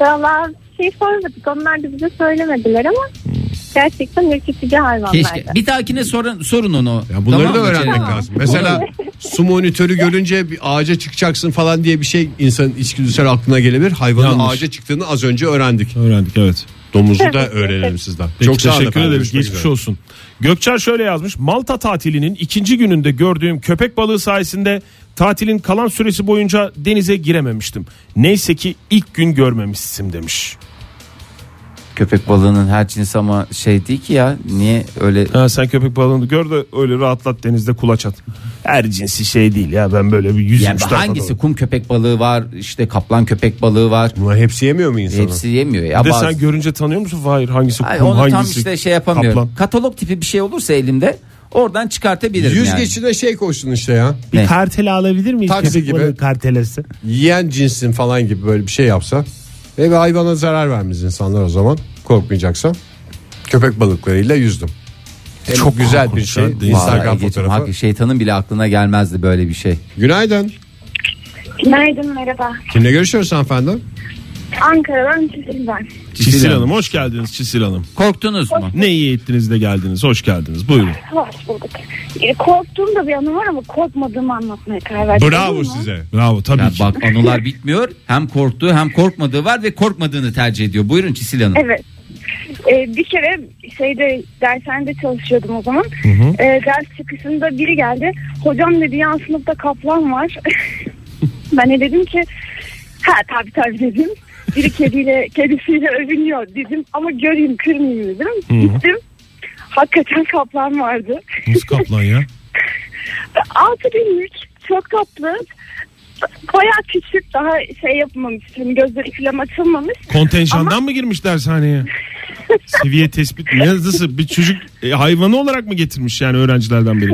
Speaker 9: Valla şey sormadık onlar da bize söylemediler ama
Speaker 3: Hmm.
Speaker 9: gerçekten ürkütücü hayvanlardı.
Speaker 5: Keşke. Bir dahakine sorun, sorun onu.
Speaker 3: Ya bunları
Speaker 5: Tamam
Speaker 3: da
Speaker 5: mı
Speaker 3: öğrenmek
Speaker 5: Ceren Hanım?
Speaker 3: lazım. Mesela su monitörü görünce bir ağaca çıkacaksın falan diye bir şey insanın içgüdüsel aklına gelebilir. Hayvanın
Speaker 4: Yanlış.
Speaker 3: ağaca çıktığını az önce öğrendik.
Speaker 4: Öğrendik evet.
Speaker 3: Domuzu da öğrenelim sizden.
Speaker 4: Peki,
Speaker 3: sağ olun
Speaker 4: teşekkür
Speaker 3: efendim.
Speaker 4: ederiz.
Speaker 3: Görüşmek
Speaker 4: Geçmiş
Speaker 3: üzere.
Speaker 4: olsun. Gökçer şöyle yazmış. Malta tatilinin ikinci gününde gördüğüm köpek balığı sayesinde tatilin kalan süresi boyunca denize girememiştim. Neyse ki ilk gün görmemişsin demiş.
Speaker 5: Köpek balığının her cins ama şey değil ki ya. Niye öyle
Speaker 4: Ha, sen köpek balığını gör de öyle rahatlat denizde kulaç at. Her cinsi şey değil ya ben böyle bir yüz
Speaker 5: yani hangisi kum köpek balığı var işte kaplan köpek balığı var
Speaker 3: Bunlar hepsi yemiyor mu insanı?
Speaker 5: hepsi yemiyor ya
Speaker 4: de
Speaker 5: bazı-
Speaker 4: sen görünce tanıyor musun? Hayır hangisi
Speaker 5: Ay,
Speaker 4: kum
Speaker 5: onu
Speaker 4: hangisi
Speaker 5: tam işte şey yapamıyorum
Speaker 4: kaplan?
Speaker 5: katalog tipi bir şey olursa elimde oradan çıkartabilirim
Speaker 3: Yüz
Speaker 5: yani.
Speaker 3: geçide şey koşsun işte ya.
Speaker 5: Ne?
Speaker 4: Karteli alabilir miyiz?
Speaker 3: Taksi
Speaker 4: Köpek
Speaker 3: gibi.
Speaker 4: balığı Kartelesi.
Speaker 3: Yiyen cinsin falan gibi böyle bir şey yapsa. Ve bir hayvana zarar vermez insanlar o zaman. Korkmayacaksa. Köpek balıklarıyla yüzdüm. Çok güzel bir şey.
Speaker 4: korkunç ya.
Speaker 5: Vallahi
Speaker 3: Instagram
Speaker 5: Ege'cim,
Speaker 3: fotoğrafı.
Speaker 5: hakikaten şeytanın bile aklına gelmezdi böyle bir şey
Speaker 3: Günaydın.
Speaker 9: Günaydın merhaba.
Speaker 3: Kimle görüşüyoruz hanımefendi?
Speaker 9: Ankara'dan Çizil ben.
Speaker 4: Çisil, Hanım hoş geldiniz Çisil Hanım.
Speaker 5: korktunuz mu
Speaker 4: Ne iyi ettiniz de geldiniz. Hoş geldiniz. Buyurun.
Speaker 9: Hoş bulduk. E, korktuğum da bir anım var ama korkmadığımı anlatmaya karar verdim.
Speaker 3: Bravo
Speaker 9: Değil mi?
Speaker 3: size.
Speaker 4: Bravo tabii
Speaker 5: ya
Speaker 4: ki.
Speaker 5: bak anılar bitmiyor hem korktuğu hem korkmadığı var ve korkmadığını tercih ediyor buyurun Çisil Hanım
Speaker 9: Evet. E, bir kere şeyde dershanede çalışıyordum o zaman. E, ders çıkışında biri geldi. Hocam dedi yan sınıfta kaplan var. ben de dedim ki ha tabii tabii dedim. Biri kediyle kedisiyle övünüyor dedim ama göreyim kırmayayım dedim. Gittim. Hakikaten kaplan vardı.
Speaker 4: Nasıl kaplan ya?
Speaker 9: Altı günlük çok tatlı. Bayağı küçük daha şey yapmamış. hani Gözleri falan açılmamış.
Speaker 4: Kontenjandan mı girmiş dershaneye? Seviye tespit mi? Ya Nasıl bir çocuk e, hayvanı olarak mı getirmiş yani öğrencilerden biri?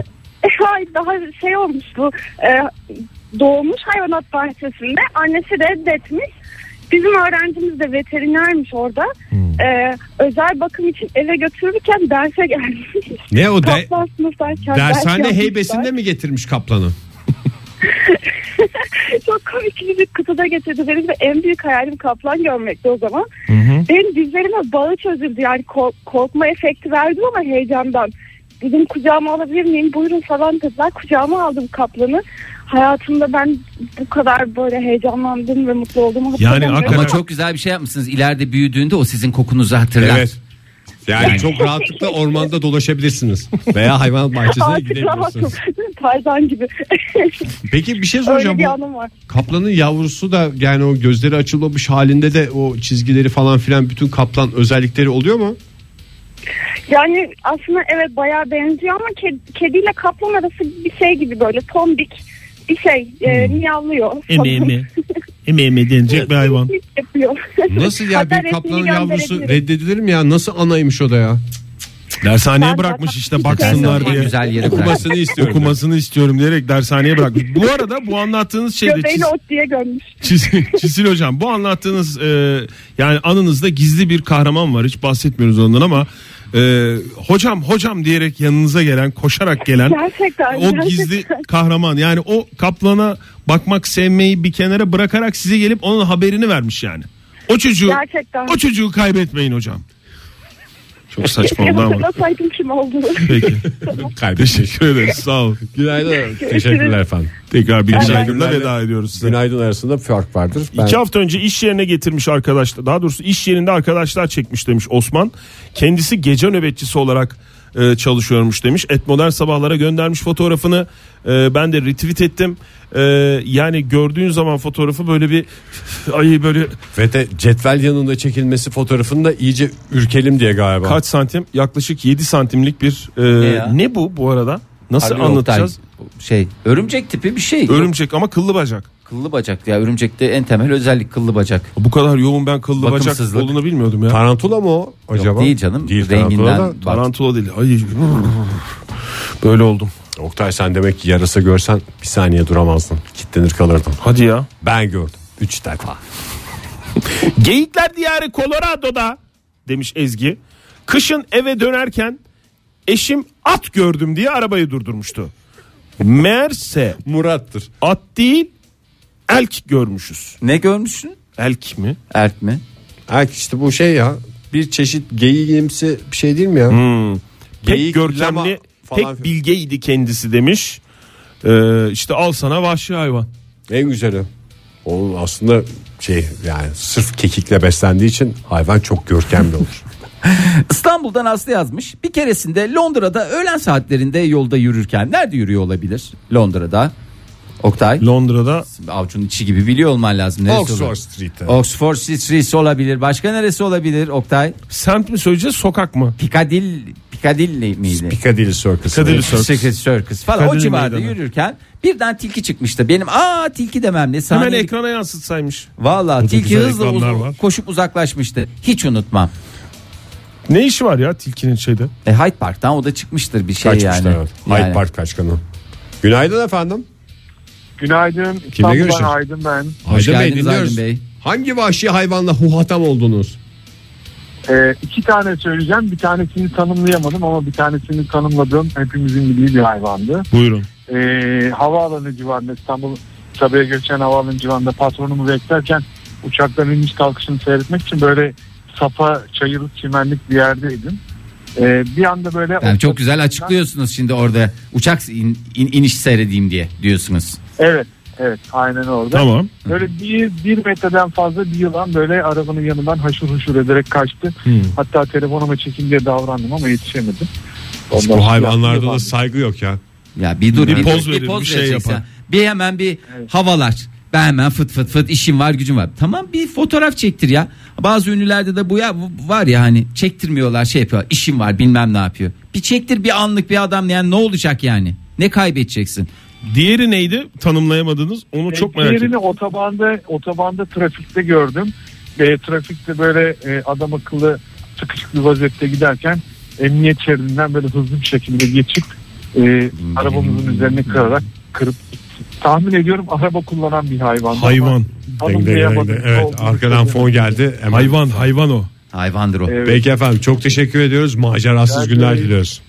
Speaker 9: Hayır E, daha şey olmuş bu e, doğmuş hayvanat bahçesinde annesi reddetmiş. Bizim öğrencimiz de veterinermiş orada.
Speaker 3: Hmm.
Speaker 9: E, özel bakım için eve götürürken derse gelmiş.
Speaker 3: Ne o de,
Speaker 9: Kaplan sınıftayken ders
Speaker 3: dershane
Speaker 9: yapmışlar.
Speaker 3: heybesinde mi getirmiş kaplanı?
Speaker 9: Çok komik bir kıtada getirdi. Benim de en büyük hayalim kaplan görmekti o zaman. Benim dizlerime bağı çözüldü. Yani kork- korkma efekti verdim ama heyecandan. Dedim kucağıma alabilir miyim? Buyurun falan dediler. Kucağıma aldım kaplanı. Hayatımda ben bu kadar böyle heyecanlandım ve mutlu olduğumu hatırlamıyorum.
Speaker 4: hakikaten-
Speaker 5: ama çok güzel bir şey yapmışsınız ileride büyüdüğünde o sizin kokunuzu hatırlar
Speaker 3: Evet. Yani, çok rahatlıkla ormanda dolaşabilirsiniz. Veya hayvan bahçesine
Speaker 9: Artık rahatım.
Speaker 3: gidebilirsiniz.
Speaker 9: Tarzan gibi.
Speaker 3: Peki bir şey
Speaker 9: Öyle
Speaker 3: soracağım.
Speaker 9: bir
Speaker 3: Bu
Speaker 9: anım var.
Speaker 3: kaplanın yavrusu da yani o gözleri açılmamış halinde de o çizgileri falan filan bütün kaplan özellikleri oluyor mu?
Speaker 9: Yani aslında evet bayağı benziyor ama ked- kediyle kaplan
Speaker 3: Hmm.
Speaker 9: arası bir şey gibi böyle tombik bir şey e, miyavlıyor.
Speaker 4: Emi emi.
Speaker 6: Emeğime denecek bir hayvan.
Speaker 9: yapıyor.
Speaker 3: Nasıl ya
Speaker 9: Hatta
Speaker 3: bir
Speaker 9: resmini
Speaker 3: kaplanın yavrusu
Speaker 9: gönderebilirim.
Speaker 3: reddedilir mi ya? Nasıl anaymış o da ya?
Speaker 6: Dershaneye bırakmış işte baksınlar diye.
Speaker 5: güzel yeri bırak.
Speaker 3: Okumasını istiyorum.
Speaker 6: Okumasını istiyorum diyerek dershaneye bırakmış. Bu arada bu anlattığınız şeyde çiz-
Speaker 9: Göbeğini ot diye gömmüş.
Speaker 6: Çisil, Çisil hocam bu anlattığınız e, yani anınızda gizli bir kahraman var hiç bahsetmiyoruz ondan ama e, hocam hocam diyerek yanınıza gelen koşarak gelen
Speaker 3: Hani
Speaker 9: Gerçekten,
Speaker 6: o
Speaker 9: gerçekten.
Speaker 6: gizli kahraman yani o kaplana bakmak sevmeyi bir kenara bırakarak size gelip onun haberini vermiş yani. O çocuğu
Speaker 9: Gerçekten.
Speaker 6: o çocuğu kaybetmeyin hocam. Çok saçma oldu ama.
Speaker 9: Hatırlasaydım kim olduğunu.
Speaker 6: Peki.
Speaker 3: Kaybetmiş.
Speaker 6: Teşekkür ederiz. Sağ olun.
Speaker 3: Günaydın. Teşekkürler efendim.
Speaker 6: Tekrar bir
Speaker 3: Günaydın.
Speaker 6: günaydınla veda ediyoruz size.
Speaker 10: Günaydın arasında fark vardır. Ben
Speaker 4: İki hafta önce iş yerine getirmiş arkadaşlar. Daha doğrusu iş yerinde arkadaşlar çekmiş demiş Osman. Kendisi gece nöbetçisi olarak e, çalışıyormuş demiş. Et modern sabahlara göndermiş fotoğrafını. E, ben de retweet ettim. E, yani gördüğün zaman fotoğrafı böyle bir ay böyle
Speaker 3: Ve de cetvel yanında çekilmesi fotoğrafını da iyice ürkelim diye galiba.
Speaker 4: kaç santim? Yaklaşık 7 santimlik bir e,
Speaker 5: Ne ya?
Speaker 4: ne, bu bu arada? Nasıl
Speaker 5: Harbi
Speaker 4: anlatacağız?
Speaker 5: Oktay, Şey örümcek tipi bir şey.
Speaker 4: Örümcek ama kıllı bacak.
Speaker 5: kıllı bacak ya örümcekte en temel özellik kıllı bacak.
Speaker 4: Bu kadar yoğun ben kıllı bacak
Speaker 5: Bakımsızlık.
Speaker 4: olduğunu bilmiyordum ya.
Speaker 3: Tarantula mı o acaba?
Speaker 5: değil canım, renginden
Speaker 3: tarantula da.
Speaker 5: Bak.
Speaker 4: Tarantula değil. Ay böyle oldum.
Speaker 3: Oktay sen demek ki yarasa görsen bir saniye duramazdın. Kitlenir kalırdın.
Speaker 4: Hadi ya.
Speaker 3: Ben gördüm. Üç defa.
Speaker 4: Geyikler diyarı Colorado'da demiş Ezgi. Kışın eve dönerken eşim at gördüm diye arabayı durdurmuştu. Meğerse
Speaker 3: Murat'tır.
Speaker 4: at değil elk görmüşüz.
Speaker 5: Ne görmüşsün?
Speaker 4: Elk mi?
Speaker 5: Ert mi?
Speaker 3: Erk işte bu şey ya. Bir çeşit geyiğimsi bir şey değil mi ya?
Speaker 4: Pek
Speaker 3: Geyik, lama
Speaker 4: görkemli,
Speaker 3: falan.
Speaker 4: pek bilgeydi kendisi demiş. Ee, işte al sana vahşi hayvan.
Speaker 3: En güzeli. Onun aslında şey yani sırf kekikle beslendiği için hayvan çok görkemli olur.
Speaker 5: İstanbul'dan Aslı yazmış. Bir keresinde Londra'da öğlen saatlerinde yolda yürürken nerede yürüyor olabilir? Londra'da. Oktay
Speaker 4: Londra'da
Speaker 5: avucunun içi gibi biliyor olman lazım. Neresi
Speaker 3: Oxford
Speaker 5: olabilir?
Speaker 3: Street'te.
Speaker 5: Oxford Street olabilir. Başka neresi olabilir Oktay?
Speaker 4: semt mi söyleyeceğiz sokak mı?
Speaker 5: Piccadilly, Piccadilly miydi?
Speaker 3: Piccadilly Circus.
Speaker 4: Piccadilly Circus.
Speaker 5: Secret Circus falan o
Speaker 4: Piccadilly
Speaker 5: civarda
Speaker 4: meydanı.
Speaker 5: yürürken birden tilki çıkmıştı. Benim aa tilki demem ne
Speaker 4: Hemen
Speaker 5: saniye.
Speaker 4: ekrana yansıtsaymış.
Speaker 5: Valla tilki
Speaker 6: güzel
Speaker 5: hızla
Speaker 6: ekranlar
Speaker 5: uz-
Speaker 6: var.
Speaker 5: koşup uzaklaşmıştı. Hiç unutmam.
Speaker 4: Ne işi var ya tilkinin şeyde?
Speaker 5: E, Hyde Park'tan o da çıkmıştır bir şey
Speaker 3: Kaçmışlar.
Speaker 5: yani.
Speaker 3: evet. Hyde
Speaker 5: Yani.
Speaker 3: Park kaçkanı. Günaydın efendim.
Speaker 11: Günaydın. İstanbul'dan
Speaker 3: görüşüyoruz?
Speaker 11: Aydın ben.
Speaker 5: Hoş
Speaker 3: Aydın Bey,
Speaker 5: geldiniz
Speaker 3: dinliyoruz.
Speaker 5: Aydın Bey.
Speaker 3: Hangi vahşi hayvanla huhatam oldunuz?
Speaker 11: Ee, iki tane söyleyeceğim. Bir tanesini tanımlayamadım ama bir tanesini tanımladım. Hepimizin bildiği bir hayvandı.
Speaker 6: Buyurun.
Speaker 11: Ee, havaalanı civarında İstanbul Sabiha Gökçen Havaalanı civarında patronumu beklerken uçakların iniş kalkışını seyretmek için böyle sapa çayırlık çimenlik bir yerdeydim. Ee, bir anda böyle
Speaker 5: Yani çok güzel açıklıyorsunuz şimdi orada uçak in- in- iniş seyredeyim diye diyorsunuz.
Speaker 11: Evet, evet aynen orada.
Speaker 6: Tamam.
Speaker 11: Böyle bir, bir metreden fazla bir yılan böyle arabanın yanından haşır huşur ederek kaçtı.
Speaker 3: Hmm.
Speaker 11: Hatta telefonuma çekin diye davrandım ama yetişemedim.
Speaker 3: Hiç
Speaker 11: Ondan
Speaker 3: bu
Speaker 11: sonra
Speaker 3: hayvanlarda
Speaker 11: yaptım.
Speaker 3: da saygı yok ya.
Speaker 5: Ya bir dur
Speaker 6: Bir
Speaker 5: bir,
Speaker 6: poz
Speaker 5: poz, bir
Speaker 6: verir,
Speaker 5: poz
Speaker 6: bir şey
Speaker 5: vereceksin.
Speaker 6: yapar.
Speaker 5: Bir hemen bir havalar. Ben hemen fıt fıt fıt işim var gücüm var. Tamam bir fotoğraf çektir ya. Bazı ünlülerde de bu ya bu- var ya hani çektirmiyorlar şey yapıyor. İşim var bilmem ne yapıyor. Bir çektir bir anlık bir adam yani ne olacak yani? Ne kaybedeceksin?
Speaker 6: Diğeri neydi? Tanımlayamadınız. Onu çok merak ettim.
Speaker 11: E, Diğerini otobanda, otobanda trafikte gördüm. Ve trafikte böyle e, adam akıllı sıkışık bir vaziyette giderken emniyet şeridinden böyle hızlı bir şekilde geçip e, arabamızın üzerine kırarak kırıp gitti. Tahmin ediyorum araba kullanan bir hayvan.
Speaker 6: Hayvan.
Speaker 11: Tanımlayamadım.
Speaker 3: Evet arkadan fon geldi. Hemen.
Speaker 6: Hayvan hayvan o.
Speaker 5: Hayvandır o.
Speaker 11: Evet.
Speaker 3: Peki efendim çok teşekkür ediyoruz. Macerasız
Speaker 11: Rica
Speaker 3: günler
Speaker 11: ederim.
Speaker 3: diliyoruz.